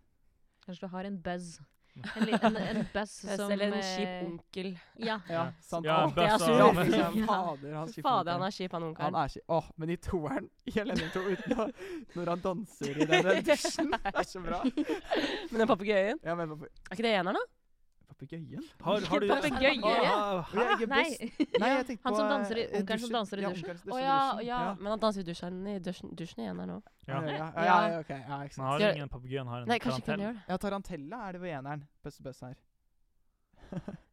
S4: Kanskje du har en buzz. En, li- en, en buzz som
S3: Selv en
S4: eh,
S3: kjip onkel.
S4: Ja.
S1: Ja,
S2: Ja.
S1: sant.
S2: Ja,
S1: Åh,
S2: bøssa-
S1: jeg
S3: Ja,
S1: synes-
S3: men-
S1: Ja, Fader, han skifter
S3: Fader, han
S1: onkelen.
S3: er kjip, han
S1: han
S3: onkelen.
S1: er ikke Åh, men i toeren i Elending 2 uten å Når han danser i den der dusjen. Det er så bra.
S3: Men den papegøyen,
S1: Ja, men pape-
S3: er ikke det eneren, da?
S1: Papegøyen?
S2: Har, har du
S4: Papegøye?
S2: Ah,
S1: Jeg er ikke
S4: Nei.
S1: best. Nei, jeg tenkte
S4: Han
S1: på,
S4: som danser i-
S1: eh,
S4: onkelen som danser i
S1: Ja,
S4: dusjen.
S1: onkelen som
S3: Å
S1: danser i
S3: ja,
S1: dusjen.
S3: ja. Men han danser i dusjen i dusjen, dusjen i eneren òg.
S1: Ja,
S2: Ja.
S1: ja,
S3: Ja.
S1: ja, ja, ok. Ja, ikke
S2: Men
S1: sant.
S2: har
S3: Gjør-
S2: ingen papegøyen har en
S3: Nei, kanskje ikke han
S2: tarantell?
S3: gjør det.
S1: Ja, Tarantella er det ved eneren. Bøsse Bøss her.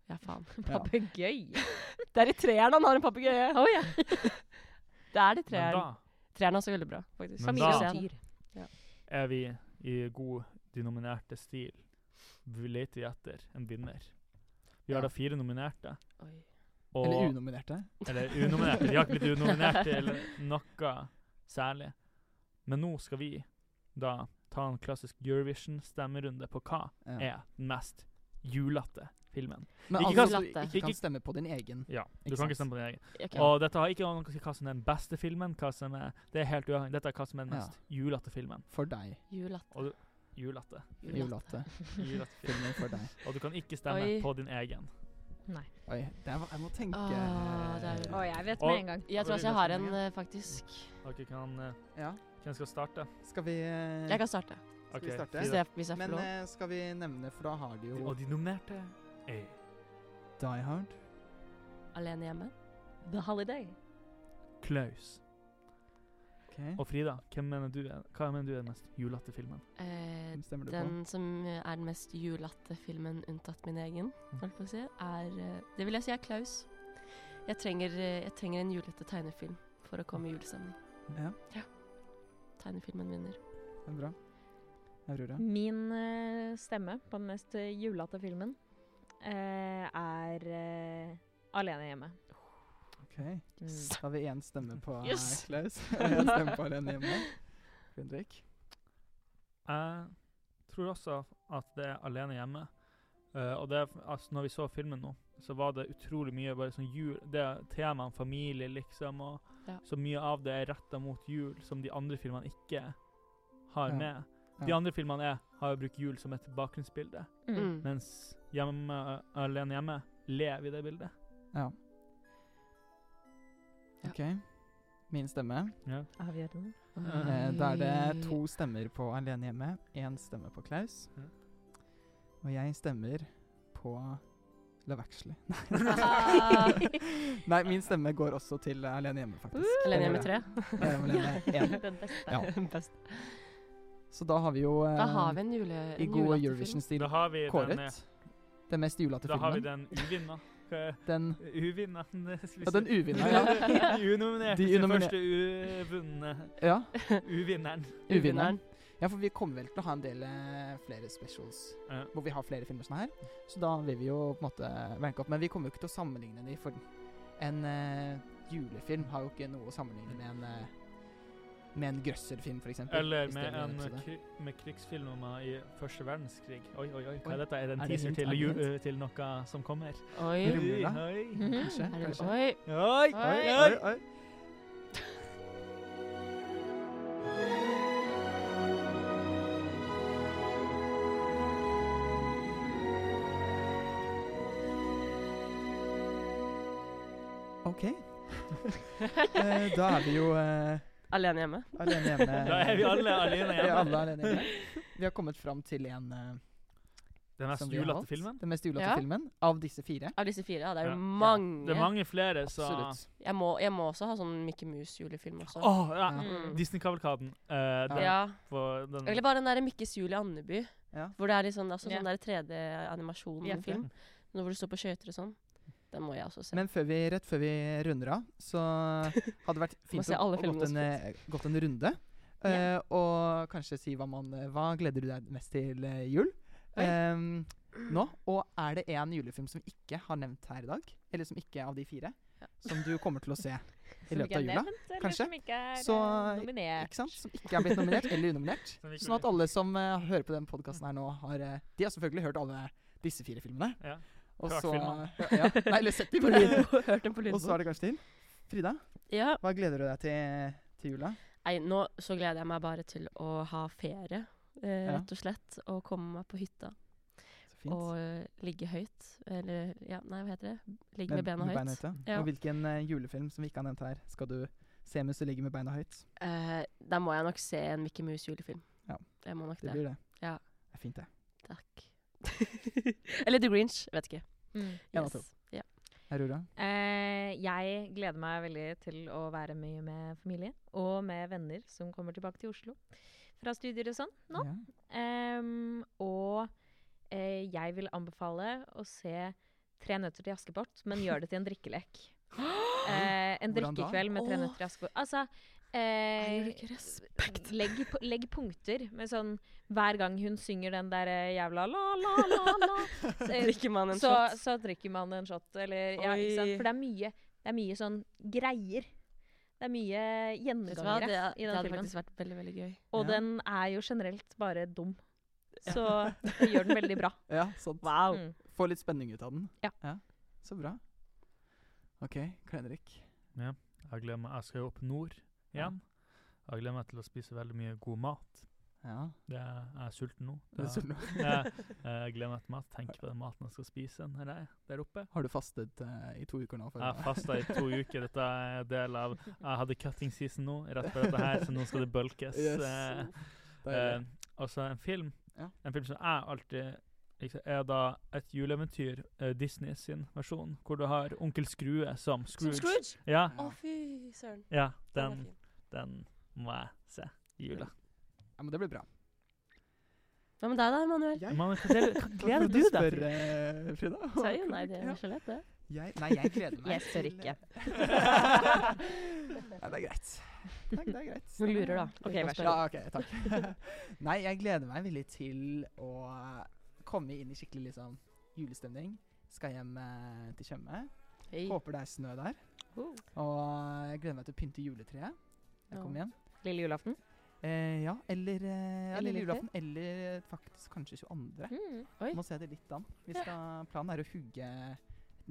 S3: Ja, faen.
S4: Papegøye.
S3: Det er i treeren han har en papegøye.
S4: Å ja.
S3: Det er i
S2: Men da
S3: treeren. Treeren er også veldig bra, faktisk.
S2: Men
S4: Familie
S2: da-
S4: og dyr.
S2: er vi i god de nominerte stil. Vi leter vi etter en vinner. Vi har
S1: Ja.
S2: da fire nominerte.
S3: Oi.
S2: Og,
S1: Eller unominerte.
S2: Eller unominerte. De har ikke blitt unominert til noe særlig. Men nå skal vi da ta en klassisk Eurovision-stemmerunde på hva
S1: Ja.
S2: er den mest julete filmen.
S1: Men
S2: Ikke
S1: altså,
S3: kan-
S1: du ikke
S2: ikke-
S1: kan stemme på din egen.
S2: Ja, du
S1: Ikke
S2: kan
S1: sant.
S2: ikke stemme på din egen.
S3: Ok.
S2: Og dette har ikke noe å si hva som er den beste filmen. Hva som er, det er helt uavhengig. Dette er hva som er den
S1: Ja.
S2: mest julete filmen.
S1: For deg,
S3: Julatte.
S2: Og du, julete.
S1: Jolate.
S2: julete film.
S1: Filmen for deg.
S2: Og du kan ikke stemme
S3: Oi.
S2: på din egen.
S1: Oi, det var, jeg må tenke
S3: Åh, Ah, det er jo-
S4: Å, jeg vet
S2: Og-
S4: med en gang.
S3: Jeg tror ikke jeg har en, eh, faktisk.
S2: Dere kan eh,
S1: Ja,
S2: Hvem skal starte?
S1: skal vi eh,
S3: Jeg kan starte,
S1: Skal vi
S2: Ok,
S1: starte?
S2: fire.
S3: hvis jeg, hvis jeg får
S1: Men
S3: lov.
S1: eh, skal vi nevne, for da har de
S2: De-
S1: jo
S2: Og de nominerte er
S1: Die Hard.
S3: Alene hjemme.
S4: The Holiday.
S2: Klaus.
S1: Okay.
S2: Og Frida, hvem mener du er, hva mener du er den mest julete filmen?
S3: Eh,
S1: Hvem stemmer du på?
S3: Den som eh, er den mest julete filmen unntatt min egen,
S1: Mm.
S3: holdt på å si, er eh, Det vil jeg si er Klaus. Jeg trenger, eh, jeg trenger en julete tegnefilm for å komme i julestemning.
S1: Ja,
S3: Tegnefilmen vinner.
S1: det er bra. Aurora.
S4: Min eh, stemme på den mest eh, julete filmen eh, er eh, Alene hjemme. Mm.
S1: Ok, da har vi én stemme på eh,
S3: Yes!
S1: Klaus og én stemme på Alene hjemme. Fredrik.
S2: Jeg tror også at det er Alene hjemme. Eh, og det, er f- altså når vi så filmen nå, så var det utrolig mye bare sånn jul Det er temaen familie, liksom, og
S3: Ja.
S2: så mye av det er retta mot jul, som de andre filmene ikke har
S1: Ja.
S2: med. De
S1: Ja.
S2: andre filmene er, har jo brukt jul som et bakgrunnsbilde,
S4: Mm.
S3: Mm.
S2: mens hjemme, eh, Alene hjemme lever i det bildet.
S1: Ja.
S3: Ja.
S1: Ok. Min stemme.
S4: Avgjørende.
S3: Mm.
S1: Eh, Da er det to stemmer på Alene hjemme, én stemme på Klaus.
S2: Mhm.
S1: Og jeg stemmer på Love Actually.
S3: Ah.
S1: Nei, min stemme går også til eh, Alene hjemme, faktisk.
S3: Uh, Alene hjemme tre.
S1: Eller, eh, Alene hjemme én.
S4: Den beste.
S1: Ja.
S3: Best.
S1: Så da har vi jo eh,
S3: Da har vi en jule...
S1: i
S3: en
S1: god
S3: julete
S1: Eurovision-stil
S2: Da har vi den, eh,
S1: kåret den mest julete
S2: da har vi
S1: filmen.
S2: den uvinna. Hva-
S1: Den,
S2: Uvinna
S1: ja, den uvinna. Ja.
S2: De unominerte.
S1: De
S2: De
S1: unominer-
S2: første uvunne.
S1: ja,
S2: Uvinneren.
S3: film.
S1: uvinneren. Ja, for vi kommer vel til å ha en del eh, flere specials
S2: Ja.
S1: hvor vi har flere filmer sånn her. Så da vil vi jo på en måte ranke opp. Men vi kommer jo ikke til å sammenligne de, for en eh, julefilm har jo ikke noe å sammenligne med en eh, med en grøsserfilm, f.eks.
S2: Eller med en kri med krigsfilm om eh, i første verdenskrig. Oi, oi, oi.
S1: Oi.
S2: Hva er dette? Er det en
S1: Er det
S2: teaser
S1: hint?
S2: til,
S1: Er det
S2: ju-
S1: hint?
S2: eh, til noe som kommer?
S3: Oi.
S1: Er det romjula?
S2: oi.
S1: Kanskje.
S3: Er det,
S1: kanskje.
S3: oi.
S2: Oi,
S3: Oi,
S2: oi.
S1: oi. OK. Eh, da er vi jo eh,
S3: Alene hjemme.
S1: alene hjemme.
S2: Da er vi alle alene
S1: Vi er alle
S2: hjemme.
S1: alene hjemme. Vi har kommet fram til en eh,
S2: Den mest
S1: som vi har
S2: julete
S1: valgt.
S2: filmen.
S1: Den mest julete
S3: Ja.
S1: filmen av disse fire.
S3: Av disse fire, ja. Det er
S2: Ja.
S3: jo mange.
S2: Det er mange flere, så
S1: Absolutt.
S3: Jeg, må, jeg må også ha sånn Mickey Mouse-julefilm også.
S2: Åh, ja.
S1: Ja.
S3: Mm.
S2: Disney-kavalkaden. eh, den
S3: Ja.
S2: på den-
S3: Eller bare den der Mikkes jul i Andeby.
S1: Ja.
S3: Hvor det er litt sånn, altså,
S4: Ja.
S3: sånn der 3D-animasjon-film. Hvor du står på skøyter og sånn. Den må jeg også se.
S1: Men før vi, rett før vi runder av, så hadde det vært fint
S3: se
S1: å
S3: alle
S1: å gått en,
S3: filmene
S1: eh, gått en runde.
S3: Ja.
S1: eh, og kanskje si hva man eh, Hva gleder du deg mest til eh, jul?
S3: Oi.
S1: Ehm, nå. Og er det en julefilm som vi ikke har nevnt her i dag, eller som ikke er av de fire,
S3: Ja.
S1: som du kommer til å se i løpet av jula?
S4: Eller
S1: kanskje?
S4: som ikke er
S1: Så-
S4: eh, nominert.
S1: Ikke sant? Som ikke er blitt nominert eller unominert.
S2: Som ikke
S1: Sånn at alle som eh, hører på den podkasten her nå, har eh, De har selvfølgelig hørt alle disse fire filmene.
S2: Ja.
S1: Og
S2: Hørt
S1: så eh,
S2: filmene.
S1: ja, Nei, eller sett dem.
S3: På lydbok. Hørt den på
S1: Og så
S3: lydbok.
S1: er det kanskje til. Frida,
S3: Ja.
S1: hva gleder du deg til eh, til jula?
S3: Nei, nå så gleder jeg meg bare til å ha ferie, eh,
S1: Ja.
S3: rett og slett. Og komme meg på hytta
S1: Så fint.
S3: og eh, ligge høyt. Eller ja, nei, hva heter det? Ligge
S1: Med-
S3: med bena
S1: med
S3: høyt.
S1: ja.
S3: Ja.
S1: Og hvilken eh, julefilm som vi ikke har nevnt her, skal du se mens du ligger med beina høyt?
S3: Eh, da må jeg nok se en Mickey Mouse julefilm.
S1: Ja.
S3: Jeg må nok
S1: Det
S3: det.
S1: blir det.
S3: Ja.
S1: Det er fint, det.
S3: Takk. eller The Grinch. Vet ikke.
S4: Mm.
S1: En av to.
S3: Ja.
S1: Aurora?
S4: Eh, jeg gleder meg veldig til å være mye med familie og med venner som kommer tilbake til Oslo fra studier og sånn nå.
S1: Ja.
S4: Em, og eh, jeg vil anbefale å se Tre nøtter til Askepott, men gjør det til en drikkelek. Eh, en
S1: Hvordan da?
S4: drikkekveld med Tre
S3: Åh.
S4: nøtter til Askepott. Altså
S3: Jeg gjør
S4: eh,
S3: ikke respekt.
S4: legg, pu- legg punkter med sånn hver gang hun synger den der eh, jævla la, la, la, la. Så, eh,
S3: Drikker man en
S4: så,
S3: shot?
S4: så drikker man en shot, eller ja, ikke sant?
S3: Oi.
S4: For det er mye, det er mye sånn greier. Det er mye
S3: Vet du hva, det,
S4: gjengangere i
S3: det
S4: den
S3: hadde
S4: filmen.
S3: faktisk vært veldig, veldig gøy.
S4: Og
S1: Ja.
S4: den er jo generelt bare dum. Så det gjør den veldig bra.
S1: ja, sant.
S3: Wow.
S4: Mm.
S1: Få litt spenning ut av den.
S4: Ja.
S1: Så bra. OK, Klein-Erik.
S2: Jeg gleder meg. Jeg skal jo opp nord
S1: Ja.
S2: igjen. Jeg gleder meg til å spise veldig mye god mat.
S1: Ja.
S2: Det er, jeg er sulten nå.
S1: det er
S2: Det-
S1: sånn nå.
S2: jeg, jeg gleder meg til mat. Tenker på den maten jeg skal spise når jeg er der oppe.
S1: Har du fastet eh, i to uker nå? for-
S2: Jeg har fasta i to uker. Dette er del av Jeg hadde cutting season nå, rett før dette her, så nå skal det bulkes.
S1: Yes.
S2: Eh,
S1: Deilig.
S2: Eh, altså en film
S1: Ja.
S2: En film som jeg alltid liksom, er da et juleeventyr, eh, Disney sin versjon, hvor du har onkel Skrue som Scrooge.
S3: Scrooge!
S2: Ja,
S3: Å, fy søren.
S2: ja
S3: Den er
S2: den,
S3: fin.
S2: den må jeg se i jula.
S1: ja, men det blir bra.
S3: Hva med deg da, Emanuel?
S1: Jeg
S2: Men hva del- hva
S1: Hva
S2: gleder
S1: prøvde
S2: du
S1: å
S2: deg til?
S1: spørre, eh, Frida?
S3: Sa jo nei, det
S1: Ja.
S3: er så lett, det.
S1: Jeg, nei, jeg gleder meg
S4: Jeg spør
S1: til-
S4: ikke.
S1: nei, det er greit. Takk, det er greit.
S3: Hun lurer, da.
S4: Ok, vær så
S1: Ja, ok, takk. Nei, jeg gleder meg veldig til å komme inn i skikkelig liksom, julestemning. Skal hjem eh, til Tjøme.
S3: Hei.
S1: Håper det er snø der.
S4: Oh.
S1: Og jeg gleder meg til å pynte juletreet. når Jeg
S3: Ja.
S1: kommer hjem.
S4: Lille julaften.
S1: Eh, ja, eller eh, ja,
S3: Eller
S1: lille
S3: nyttår?
S1: julaften. Eller eh, faktisk kanskje 22.
S4: Mm.
S3: Oi.
S1: Må se det litt an. Vi skal, planen er å hugge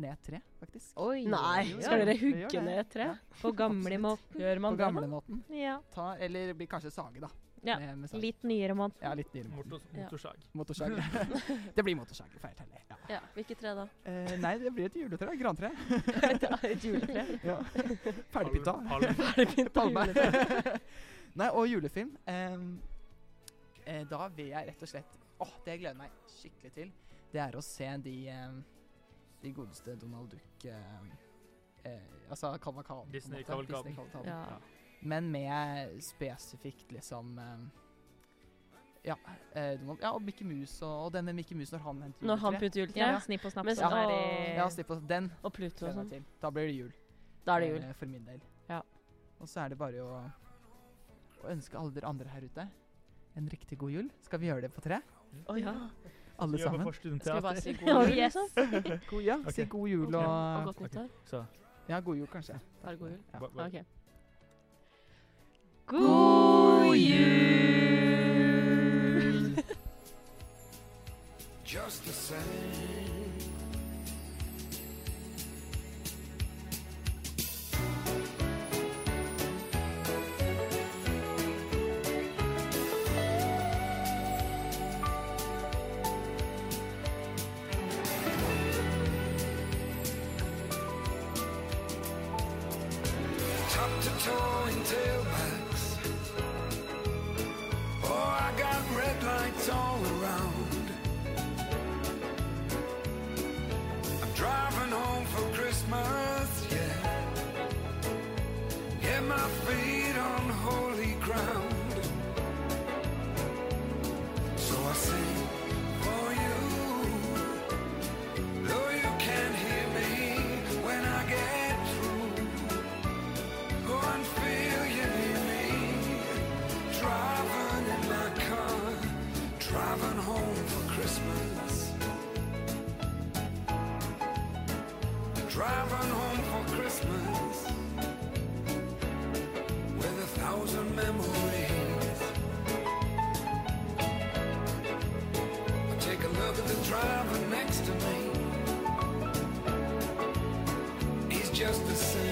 S1: ned et tre, faktisk.
S4: Oi.
S3: Nei,
S1: Jo,
S3: skal
S1: jo,
S3: dere
S1: vi gjør
S3: hugge
S1: det.
S3: ned et tre?
S1: Ja.
S4: På gamlemåten.
S1: Absolutt.
S3: Gjør
S1: På
S3: man det nå?
S1: gamlemåten.
S4: Ja.
S1: Ta- Eller blir kanskje sage, da.
S4: Ja,
S1: Med- med sag.
S4: Litt nyere måten.
S1: Ja, litt dyre.
S2: Mortos-
S3: Ja.
S2: Motorsag.
S1: Motorsag. det blir motorsag. Feil teller. Ja.
S3: Ja, Hvilket tre da?
S1: Eh, nei, det blir et juletre. Grantre.
S3: Det er et juletre.
S1: ja. Ferdigpynta.
S2: Palme- palme.
S1: Palme. nei, og julefilm. Em, eh, da vil jeg rett og slett Åh, det jeg gleder meg skikkelig til, det er å se de em, De godeste Donald Duck em, eh, Altså Kalmakanen. på en
S2: Disney
S1: måte.
S2: Kavalkaden.
S1: Disney-kavalkaden.
S3: Ja.
S1: Men med spesifikt liksom em, ja, eh, Donald, ja, og Mickey Mouse og, og den med Mickey Mouse når han henter
S3: Når han
S1: juletre.
S3: putter juletre?
S4: Ja, snipp og snapp.
S3: Men
S4: som
S3: sånn-
S4: er
S3: Åh.
S4: i-
S1: Ja, slipp oss den.
S3: Og Pluto og
S1: gleder jeg
S3: sånn.
S1: meg til. Da blir det jul.
S3: Da er det jul.
S1: eh, For min del.
S3: Ja.
S1: Og så er det bare å, å ønske alle dere andre her ute en riktig god jul. Skal vi gjøre det på tre?
S3: Å ja.
S1: Alle
S2: Gjør på
S1: sammen?
S2: Forstuen
S3: Skal vi bare si
S2: Teater.
S3: god jul,
S4: Å, yes.
S3: liksom?
S1: God, ja, si
S2: Ok.
S1: god jul
S3: Ok, Og
S1: og
S3: godt nyttår.
S2: Så,
S1: Ja, god jul, kanskje.
S3: Bare god jul.
S1: Ja.
S2: ba- ba-
S3: Ok.
S4: God jul!
S6: Just the same. Top to toe in tailbacks. Oh, I got red lights all around. I'm driving home for Christmas, yeah. Yeah, my feet on holy ground. So I sing for you, though you can't hear me.
S5: coming home for Christmas with a thousand memories. I take a look at the driver next to me. He's just the same.